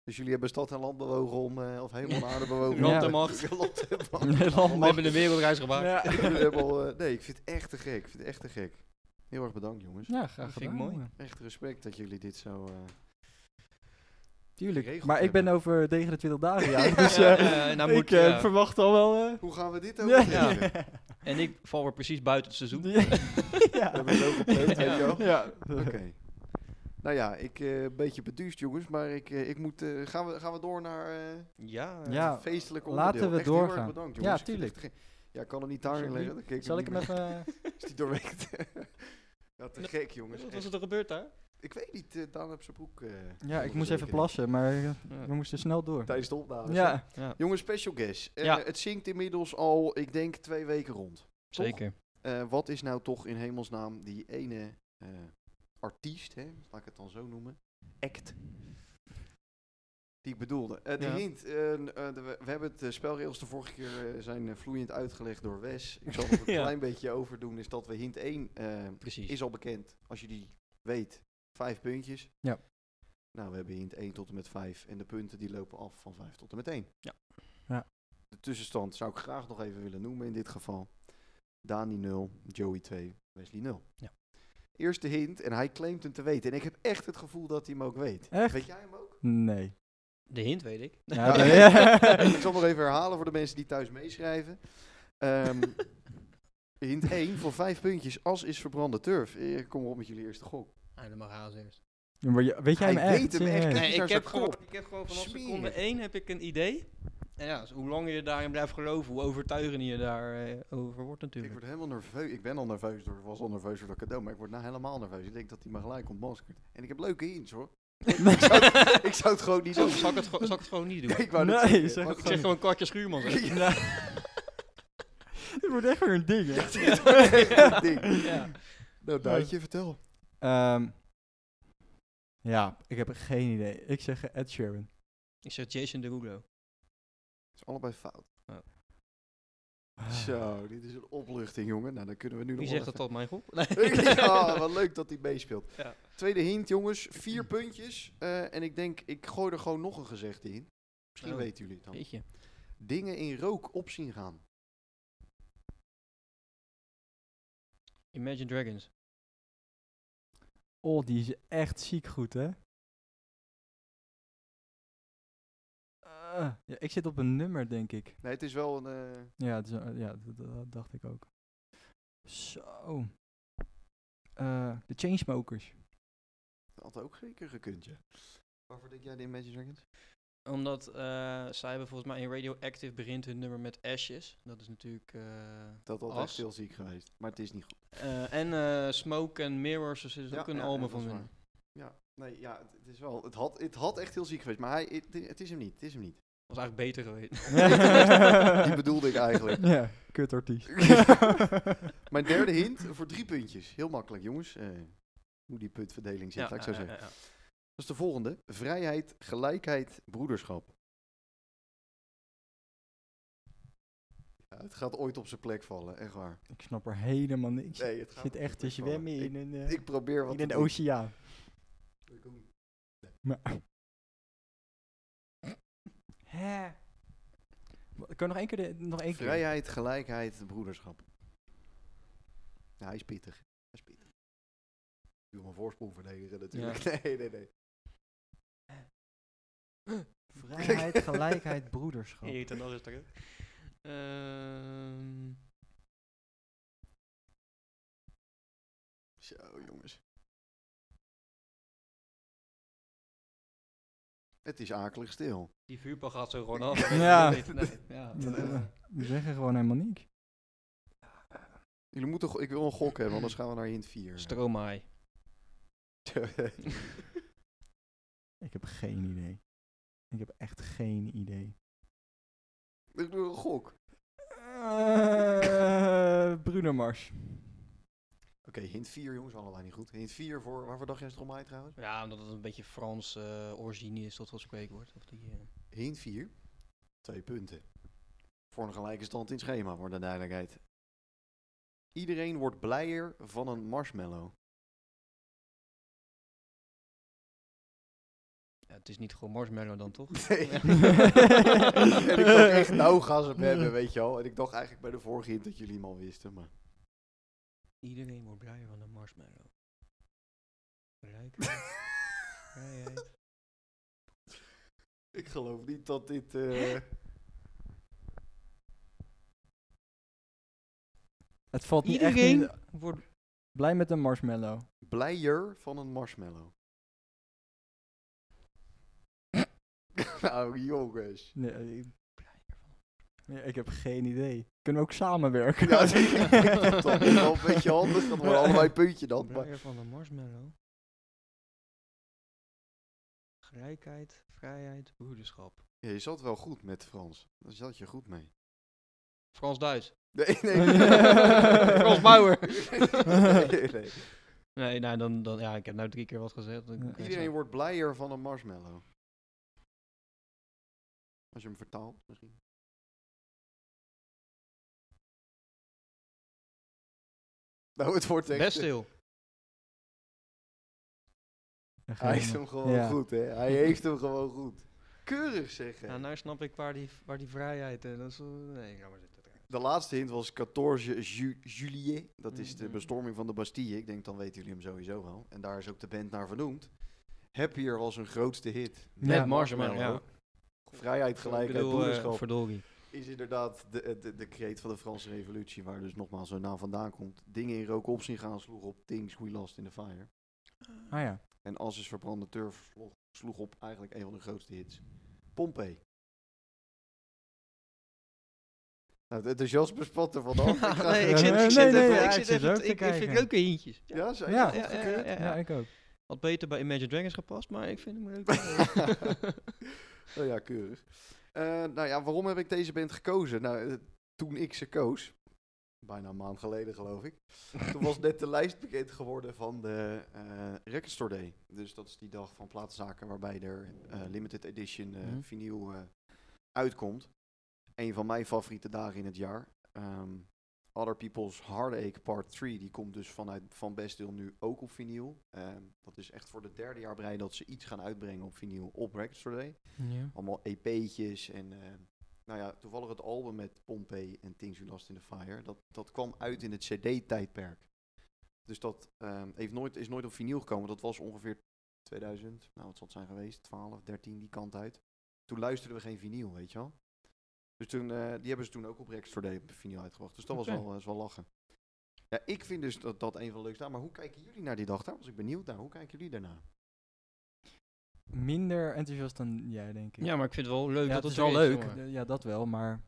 Speaker 2: Dus jullie hebben stad en land bewogen om, eh, of helemaal naar aarde bewogen.
Speaker 1: Land en
Speaker 3: macht.
Speaker 2: Land en macht.
Speaker 1: Nee, land en
Speaker 3: We hebben een wereldreis gemaakt.
Speaker 2: Jullie hebben al, eh, nee, ik vind het echt te gek. Ik vind het echt te gek. Heel erg bedankt, jongens.
Speaker 1: Ja, graag
Speaker 3: Dat vind ik
Speaker 1: gedaan.
Speaker 3: mooi.
Speaker 1: jongen.
Speaker 2: Echt respect dat jullie dit zo... eh,
Speaker 1: Tuurlijk.
Speaker 2: Geregeld
Speaker 1: maar ik ben
Speaker 2: hebben.
Speaker 1: over 29 dagen jarig,
Speaker 2: Ja.
Speaker 1: dus
Speaker 3: Ja,
Speaker 1: eh,
Speaker 3: ja, ja, nou
Speaker 1: ik
Speaker 3: moet je,
Speaker 1: eh,
Speaker 3: ja.
Speaker 1: verwacht al wel... eh,
Speaker 2: Hoe gaan we dit
Speaker 1: ja.
Speaker 2: over?
Speaker 3: En ik val weer precies buiten het seizoen.
Speaker 1: Ja.
Speaker 2: We hebben zo gepland, weet je wel.
Speaker 1: Ja.
Speaker 2: Oké. Nou ja, ik eh, een beetje beduust, jongens, maar ik, eh, ik moet. eh, gaan, we, gaan we door naar eh,
Speaker 3: Ja.
Speaker 1: Ja.
Speaker 2: het feestelijke
Speaker 1: laten
Speaker 2: onderdeel?
Speaker 1: we
Speaker 2: Echt heel erg
Speaker 1: doorgaan.
Speaker 2: bedankt,
Speaker 1: Ja,
Speaker 2: jongens. Ik vind
Speaker 1: tuurlijk.
Speaker 2: het echt ge- Ja, ik kan hem niet daarin
Speaker 1: Zal
Speaker 2: leggen.
Speaker 1: ik-
Speaker 2: dan kijk
Speaker 1: Zal ik
Speaker 2: niet
Speaker 1: hem
Speaker 2: meer.
Speaker 1: even... eh,
Speaker 2: Is die doorweekt? ja, te gek, jongens.
Speaker 3: Wat
Speaker 2: echt.
Speaker 3: was er gebeurd daar?
Speaker 2: Ik weet niet, eh Daan heeft zijn broek. eh,
Speaker 1: Ja, ik moest even
Speaker 2: ondergezeken.
Speaker 1: plassen, maar eh, we moesten snel door.
Speaker 2: Tijdens de opname.
Speaker 1: Ja.
Speaker 2: Ja. Jongens, special guest. Eh,
Speaker 3: Ja.
Speaker 2: Het zingt inmiddels al, ik denk, twee weken rond. Toch?
Speaker 3: Zeker.
Speaker 2: Eh, wat is nou toch in hemelsnaam die ene eh, artiest, hè, laat ik het dan zo noemen, act, die ik bedoelde. Eh, de
Speaker 3: Ja.
Speaker 2: hint, eh, n- eh, de- we we hebben het eh, spelregels de vorige keer eh, zijn eh, vloeiend uitgelegd door Wes. Ik zal nog een
Speaker 3: Ja.
Speaker 2: klein beetje overdoen, is dat we hint 1 eh,
Speaker 3: Precies.
Speaker 2: is al bekend. Als je die weet, vijf puntjes.
Speaker 1: Ja.
Speaker 2: Nou, we hebben hint 1 tot en met 5 en de punten die lopen af van 5 tot en met 1.
Speaker 3: Ja.
Speaker 1: Ja.
Speaker 2: De tussenstand zou ik graag nog even willen noemen in dit geval. Dani 0, Joey 2, Wesley 0.
Speaker 3: Ja.
Speaker 2: Eerste hint en hij claimt hem te weten. En ik heb echt het gevoel dat hij hem ook weet.
Speaker 1: Echt?
Speaker 2: Weet jij hem ook?
Speaker 1: Nee.
Speaker 3: De hint weet ik.
Speaker 1: Ja,
Speaker 2: Ja,
Speaker 1: nee.
Speaker 2: ik zal nog even herhalen voor de mensen die thuis meeschrijven. Ehm, hint 1 voor 5 puntjes. As is verbrande turf. Eh, Kom op met jullie eerste gok.
Speaker 3: Ah, dan mag Haas eerst.
Speaker 1: Ja, maar je- weet jij
Speaker 2: Hij
Speaker 1: hem echt?
Speaker 2: weet hem echt.
Speaker 1: serieus?
Speaker 2: Nee,
Speaker 3: Nee,
Speaker 2: daar
Speaker 3: ik heb,
Speaker 2: zat
Speaker 3: gewoon,
Speaker 2: op.
Speaker 3: ik heb gewoon vanaf
Speaker 2: Smerig.
Speaker 3: seconde 1 heb ik een idee. En ja, dus hoe langer je daarin blijft geloven, hoe overtuigender je daarover over wordt
Speaker 2: Ik
Speaker 3: natuurlijk.
Speaker 2: word helemaal nerveus. Ik ben al nerveus door, was al nerveus door dat cadeau, maar ik word nou helemaal nerveus. Ik denk dat hij me gelijk ontmaskert. En ik heb leuke hints hoor. ik, zou het, ik zou het gewoon niet
Speaker 3: Zo,
Speaker 2: doen.
Speaker 3: zal, ik het, gewoon- zal ik het gewoon niet doen?
Speaker 2: Ik wou net
Speaker 1: Nee,
Speaker 2: zeggen,
Speaker 1: zeg
Speaker 2: maar
Speaker 1: het
Speaker 3: Ik zeg gewoon Katja Schuurman. zeg.
Speaker 1: Dit wordt echt weer een ding, hè?
Speaker 2: dit is wel echt een ding.
Speaker 3: Ja.
Speaker 2: Nou, Duitje, vertel.
Speaker 1: Ehm, ja, ik heb geen idee. Ik zeg eh, Ed Sheeran.
Speaker 3: Ik zeg Jason Derulo.
Speaker 2: Het is allebei fout.
Speaker 1: Ah.
Speaker 2: Zo, dit is een opluchting, jongen. Nou, dan kunnen we nu
Speaker 3: Wie
Speaker 2: nog
Speaker 3: zegt
Speaker 2: wel
Speaker 3: dat
Speaker 2: even-
Speaker 3: dat mijn groep? Nee.
Speaker 2: ja, wat leuk dat hij meespeelt.
Speaker 3: Ja.
Speaker 2: Tweede hint, jongens.
Speaker 3: Mm.
Speaker 2: Vier puntjes. Eh, en ik denk, ik gooi er gewoon nog een gezegde in. Misschien
Speaker 3: Oh.
Speaker 2: weten jullie het dan.
Speaker 3: Weet je.
Speaker 2: Dingen in rook op zien gaan.
Speaker 3: Imagine Dragons.
Speaker 1: Oh, die is echt ziek goed, hè? Eh, ja, ik zit op een nummer, denk ik.
Speaker 2: Nee, het is wel een... eh,
Speaker 1: Ja, het is, eh, ja dat, dat- dat dacht ik ook. Zo. Eh, de Chainsmokers.
Speaker 2: Dat had ook zeker gekund, ja. Waarvoor denk jij de Imagine Dragons?
Speaker 3: Omdat eh, zij hebben volgens mij in Radioactive begint hun nummer met Ashes. Dat is natuurlijk... eh,
Speaker 2: Dat had
Speaker 3: As.
Speaker 2: echt heel ziek geweest, maar het is niet goed.
Speaker 3: eh, en eh, Smoke and Mirrors, dus is
Speaker 2: Ja,
Speaker 3: ook een
Speaker 2: ja,
Speaker 3: album
Speaker 2: ja,
Speaker 3: van
Speaker 2: dat is
Speaker 3: hun.
Speaker 2: waar. Ja, nee, ja, het, het is wel, het, had, het had echt heel ziek geweest, maar hij, het, het is hem niet, het is hem niet.
Speaker 3: was eigenlijk beter geweest.
Speaker 2: Die bedoelde ik eigenlijk.
Speaker 1: Ja, kut artiest.
Speaker 2: Mijn derde hint voor drie puntjes. Heel makkelijk, jongens. Eh, hoe die puntverdeling zit, laat ik zo zeggen.
Speaker 3: ja, eh, ja.
Speaker 2: Dat is de volgende. Vrijheid, gelijkheid, broederschap. Ja, het gaat ooit op zijn plek vallen, echt waar.
Speaker 1: Ik snap er helemaal niks.
Speaker 2: Nee, het
Speaker 1: ik
Speaker 2: gaat
Speaker 1: zit
Speaker 2: op
Speaker 1: echt te
Speaker 2: zijn plek vallen.
Speaker 1: zwemmen in een, eh,
Speaker 2: Ik, ik probeer wat
Speaker 1: in een
Speaker 2: te doen.
Speaker 1: oceaan. Hè? Kun je nog één keer? De, nog één keer?
Speaker 2: Vrijheid, gelijkheid, broederschap. Ja, hij is pittig. Hij is pittig. Ik wil mijn voorsprong verdedigen natuurlijk. Nee, nee, nee.
Speaker 1: Vrijheid, gelijkheid, broederschap.
Speaker 3: Eet en alles eruit. Ehm,
Speaker 2: Zo, jongens. Het is akelig stil.
Speaker 3: die vuurpag gaat zo gewoon af.
Speaker 1: Ja. eh,
Speaker 3: Nee, nee, ja.
Speaker 1: We zeggen gewoon helemaal niks.
Speaker 2: Jullie moeten, go- ik wil een gok hebben, anders gaan we naar hint 4.
Speaker 3: Stromaai.
Speaker 1: Ik heb geen idee. Ik heb echt geen idee.
Speaker 2: ik doe een gok. Oké,
Speaker 1: Eh Bruno Mars.
Speaker 2: hint 4 jongens, allebei niet goed. Hint 4 voor, waarvoor dacht jij Stromae trouwens?
Speaker 3: Ja, omdat het een beetje Frans eh, origine is, tot wat spreekwoord. Of die, eh,
Speaker 2: Hint 4. Twee punten. Voor een gelijke stand in het schema, voor de duidelijkheid. Iedereen wordt blijer van een marshmallow.
Speaker 3: ja, het is niet gewoon marshmallow dan, toch?
Speaker 2: Nee. en ik dacht echt, nou gaan ze hem hebben, weet je wel. En ik dacht eigenlijk bij de vorige hint dat jullie hem al wisten, maar...
Speaker 3: Iedereen wordt blijer van een marshmallow. Gelijkheid. Vrijheid.
Speaker 2: Ik geloof niet dat dit... eh,
Speaker 1: Het valt niet echt
Speaker 3: Iedereen
Speaker 1: niet-
Speaker 3: wordt...
Speaker 1: Blij met een marshmallow.
Speaker 2: blijer van een marshmallow. nou, jongens.
Speaker 1: Nee, eh, ik, nee, ik heb geen idee. Kunnen we ook samenwerken?
Speaker 2: Ja, ik dacht dat dit wel een beetje handig. Dat wordt allebei een puntje dan. Maar
Speaker 3: Blijer van een marshmallow. Gelijkheid, vrijheid, broederschap.
Speaker 2: Ja, je zat wel goed met Frans. Daar zat je goed mee.
Speaker 3: Frans-Duits.
Speaker 2: Nee,
Speaker 3: Frans Bauer.
Speaker 2: nee, nee.
Speaker 3: Nee, nou dan, dan... Ja, ik heb nou drie keer wat gezegd. dan
Speaker 1: Ja.
Speaker 3: kan je
Speaker 2: Iedereen
Speaker 3: zo-
Speaker 2: wordt blijer van een marshmallow. Als je hem vertaalt, misschien. Nou, het wordt echt...
Speaker 3: Best stil.
Speaker 1: Ja, geen
Speaker 2: Hij heeft
Speaker 1: idee.
Speaker 2: hem gewoon
Speaker 1: Ja.
Speaker 2: goed, hè. Hij heeft hem gewoon goed. Keurig zeggen.
Speaker 3: Ja, nou snap ik waar die, waar die vrijheid... eh, dat is, eh, nee, ga maar zitten.
Speaker 2: De laatste hint was 14 ju juillet. Dat is de
Speaker 3: Mhm.
Speaker 2: bestorming van de Bastille. Ik denk, dan weten jullie hem sowieso wel. En daar is ook de band naar vernoemd. Happier was hun grootste hit.
Speaker 1: Met Ja.
Speaker 3: marshmallow,
Speaker 2: Vrijheid,
Speaker 3: ik
Speaker 2: gelijkheid,
Speaker 3: bedoel, eh,
Speaker 2: broederschap.
Speaker 3: verdorie.
Speaker 2: is inderdaad de, eh, de, de kreet van de Franse revolutie, waar dus nogmaals zo'n naam vandaan komt. Dingen in rook op zien gaan sloeg op things we lost in the fire.
Speaker 1: Ah ja.
Speaker 2: En als is verbrande turf sloeg, sloeg op eigenlijk een van de grootste hits. Pompey. Nou, de enthousiasme spat er vanaf. Ik ga-
Speaker 3: nee,
Speaker 1: eh,
Speaker 3: ik zit,
Speaker 1: nee,
Speaker 3: ik zit
Speaker 1: nee,
Speaker 3: even,
Speaker 1: ja,
Speaker 3: ik
Speaker 1: ik
Speaker 3: zit
Speaker 1: zit
Speaker 3: even,
Speaker 1: ook
Speaker 3: te-
Speaker 1: te
Speaker 3: ik, ik vind
Speaker 1: kijken.
Speaker 3: leuke hintjes.
Speaker 2: Ja, zijn
Speaker 1: Ja,
Speaker 2: ze
Speaker 1: ja,
Speaker 2: goed
Speaker 3: ja,
Speaker 2: gekeurd?
Speaker 3: ja, ja.
Speaker 1: Ja, ik ook.
Speaker 3: Had beter bij Imagine Dragons gepast, maar ik vind hem leuk.
Speaker 2: Nou ja, keurig. Eh, nou ja, waarom heb ik deze band gekozen? Nou, eh, toen ik ze koos, bijna een maand geleden geloof ik, toen was net de lijst bekend geworden van de eh Record Store Day. Dus dat is die dag van platenzaken waarbij er eh, limited edition eh,
Speaker 3: Mhm.
Speaker 2: vinyl eh, uitkomt. Een van mijn favoriete dagen in het jaar. Ehm, Other People's Heartache Part 3, die komt dus vanuit Van Bestdeel nu ook op vinyl. Ehm, dat is echt voor het derde jaar breid dat ze iets gaan uitbrengen op vinyl op Record Store Day allemaal EP'tjes en eh, nou ja, toevallig het album met Pompey en Things You Lost in the Fire, dat, dat kwam uit in het CD-tijdperk. Dus dat eh, heeft nooit, is nooit op vinyl gekomen. Dat was ongeveer 2000, nou wat zal het zijn geweest, 12, 13, die kant uit. Toen luisterden we geen vinyl, weet je wel. Dus toen, eh, die hebben ze toen ook op Rextor Day op vinyl uitgebracht. Dus dat was
Speaker 3: Oké.
Speaker 2: wel, is wel lachen. Ja, ik vind dus dat dat een van de leukste dagen. Maar hoe kijken jullie naar die dag? Daar was ik benieuwd naar. Hoe kijken jullie daarna?
Speaker 1: Minder enthousiast dan jij, denk ik.
Speaker 3: Ja, maar ik vind het wel leuk
Speaker 1: Ja,
Speaker 3: dat
Speaker 1: het is
Speaker 3: er
Speaker 1: wel leuk.
Speaker 3: jongen.
Speaker 1: Ja, dat wel, maar...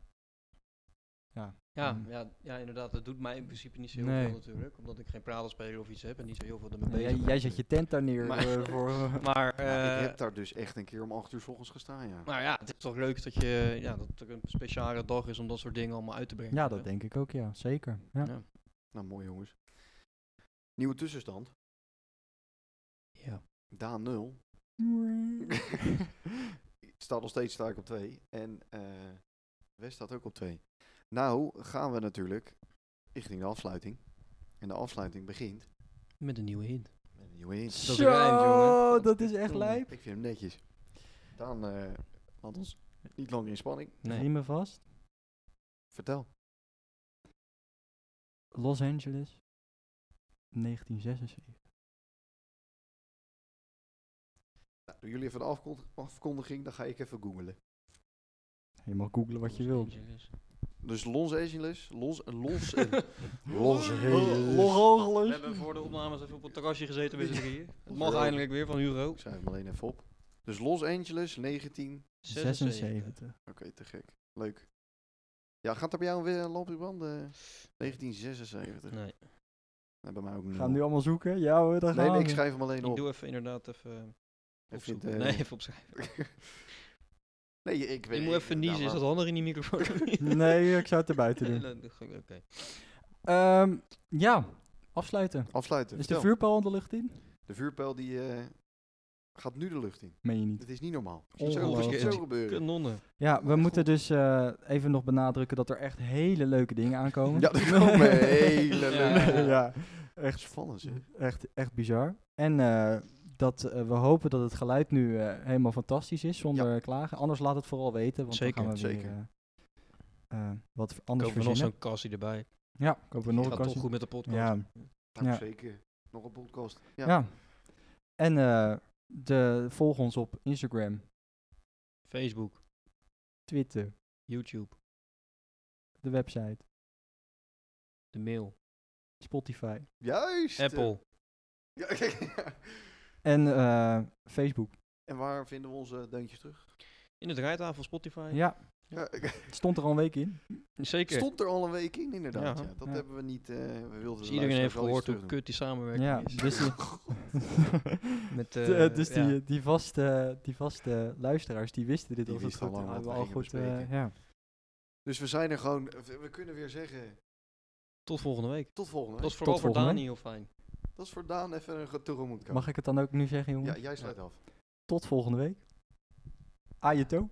Speaker 1: Ja.
Speaker 3: Ja,
Speaker 1: Mm.
Speaker 3: ja, ja, inderdaad. Dat doet mij in principe niet zo heel
Speaker 1: Nee.
Speaker 3: veel natuurlijk. Omdat ik geen pratelspeler of iets heb en niet zo heel veel ermee
Speaker 1: Ja,
Speaker 3: bezig
Speaker 1: jij,
Speaker 3: ben.
Speaker 1: jij zet je tent daar neer
Speaker 3: Maar-
Speaker 1: eh, voor...
Speaker 3: Maar,
Speaker 2: Nou, ik
Speaker 3: eh,
Speaker 2: heb daar dus echt een keer om 8 uur s ochtends gestaan, ja.
Speaker 3: maar ja, het is toch leuk dat, je, ja, dat er een speciale dag is om dat soort dingen allemaal uit te brengen.
Speaker 1: ja,
Speaker 3: weet
Speaker 1: dat
Speaker 3: je
Speaker 1: denk ik ook, ja. Zeker.
Speaker 3: wel.
Speaker 1: Ja.
Speaker 3: Ja.
Speaker 2: Nou, mooi jongens. Nieuwe tussenstand.
Speaker 3: Ja.
Speaker 2: Daan 0. staat nog steeds sta ik op 2. En eh West staat ook op 2. Nou gaan we natuurlijk richting de afsluiting. En de afsluiting begint
Speaker 3: Met een nieuwe hint.
Speaker 2: met een nieuwe hint.
Speaker 3: Dat rijmt,
Speaker 1: Zo,
Speaker 3: jongen.
Speaker 1: dat is echt lijp.
Speaker 2: Ik vind hem netjes. Daan eh laat ons niet langer in spanning.
Speaker 3: Nee.
Speaker 1: Riemen vast.
Speaker 2: Vertel.
Speaker 1: Los Angeles, 1976.
Speaker 2: Nou, doen jullie even een afkon- afkondiging, dan ga ik even googlen.
Speaker 1: Je mag googlen wat je wil.
Speaker 2: Dus Los Angeles, Los, Los, Los
Speaker 3: Los
Speaker 2: Angeles.
Speaker 3: We hebben voor de opnames even op het terrasje gezeten met z'n drieën. Het mag eindelijk weer van Hugo.
Speaker 2: Ik schrijf hem alleen even op. Dus Los Angeles, 19. Oké,
Speaker 1: 76.
Speaker 2: te gek. Leuk. Ja, gaat er bij jou weer een lampje branden? 1976.
Speaker 3: Nee,
Speaker 2: Nee, bij mij ook niet.
Speaker 1: Gaan we nu allemaal zoeken? Ja hoor, daar gaan
Speaker 2: Nee, nee, ik
Speaker 1: we.
Speaker 2: schrijf hem alleen
Speaker 3: ik
Speaker 2: op.
Speaker 3: doe even inderdaad even
Speaker 2: Even
Speaker 3: opzoeken.
Speaker 2: de-
Speaker 1: eh,
Speaker 3: Nee, even opschrijven.
Speaker 2: nee, ik weet
Speaker 3: Ik moet even niezen, is dat handig in die microfoon?
Speaker 1: nou, Nee, ik zou het erbuiten doen.
Speaker 3: Nee, dat- Oké.
Speaker 1: Ehm, ja, afsluiten.
Speaker 2: Afsluiten.
Speaker 1: Is de
Speaker 2: vertel.
Speaker 1: vuurpijl de lucht in?
Speaker 2: De vuurpijl die eh, gaat nu de lucht in.
Speaker 1: Meen je niet.
Speaker 2: Dit is niet normaal. Zo
Speaker 1: Ongelooflijk.
Speaker 2: moet het zo gebeuren.
Speaker 3: Kanonnen.
Speaker 1: Ja, we
Speaker 2: Echt
Speaker 1: moeten
Speaker 2: goed.
Speaker 1: dus eh, even nog benadrukken dat er echt hele leuke dingen aankomen.
Speaker 2: Ja, er komen hele
Speaker 3: Ja.
Speaker 2: leuke.
Speaker 1: ja,
Speaker 2: Echt
Speaker 1: echt,
Speaker 2: spannend zeg.
Speaker 1: echt, echt bizar. En eh, dat, eh, we hopen dat het geluid nu eh, helemaal fantastisch is, zonder klagen. Anders laat het vooral weten, want
Speaker 3: Zeker,
Speaker 1: dan gaan we
Speaker 2: zeker.
Speaker 1: weer eh, eh, wat anders
Speaker 3: Kopen we nog
Speaker 1: verzinnen.
Speaker 3: zo'n kassie erbij.
Speaker 1: Ja, kopen we nog een
Speaker 3: Gaat toch
Speaker 1: kastje.
Speaker 3: goed met de podcast.
Speaker 1: Ja,
Speaker 2: Nou,
Speaker 1: Ja.
Speaker 2: zeker. Nog een podcast. Ja.
Speaker 1: ja. En eh, de, volg ons op Instagram,
Speaker 3: Facebook,
Speaker 1: Twitter,
Speaker 3: YouTube,
Speaker 1: de website,
Speaker 3: de mail,
Speaker 1: Spotify
Speaker 2: Juist.
Speaker 3: Apple.
Speaker 2: Ja, ja.
Speaker 1: en eh, Facebook.
Speaker 2: En waar vinden we onze deuntjes terug?
Speaker 3: In het rijtafel, Spotify.
Speaker 1: Ja,
Speaker 2: Ja,
Speaker 1: het stond er al een week in.
Speaker 3: Zeker.
Speaker 2: Stond er al een week in, inderdaad.
Speaker 3: Ja.
Speaker 2: Ja, dat
Speaker 1: Ja.
Speaker 2: hebben we niet. eh, we wilden
Speaker 3: Dus
Speaker 2: de
Speaker 3: iedereen
Speaker 2: luisteraars wel
Speaker 3: heeft
Speaker 2: iets
Speaker 3: gehoord hoe
Speaker 2: terug doen.
Speaker 3: kut die samenwerking
Speaker 1: Ja,
Speaker 3: is.
Speaker 1: dus, die-
Speaker 3: Met,
Speaker 1: de-
Speaker 3: eh,
Speaker 1: dus
Speaker 3: ja.
Speaker 1: die, die, vaste, die vaste luisteraars, die wisten dit
Speaker 2: Die
Speaker 1: als het
Speaker 2: wisten
Speaker 1: goed
Speaker 2: al lang
Speaker 1: hadden we
Speaker 2: wat
Speaker 1: al
Speaker 2: we gingen
Speaker 1: goed. eh,
Speaker 2: bespreken.
Speaker 1: ja.
Speaker 2: Dus we zijn er gewoon. We we kunnen weer zeggen.
Speaker 3: Tot volgende week.
Speaker 2: Tot volgende.
Speaker 3: Dat
Speaker 2: week.
Speaker 3: is vooral voor
Speaker 1: volgende
Speaker 3: Dani
Speaker 1: week.
Speaker 3: heel fijn.
Speaker 2: Dat is voor Daan even een ge- tegemoet.
Speaker 1: Mag ik het dan ook nu zeggen, jongen?
Speaker 2: Ja, jij sluit af.
Speaker 1: Tot volgende week. Ajeto.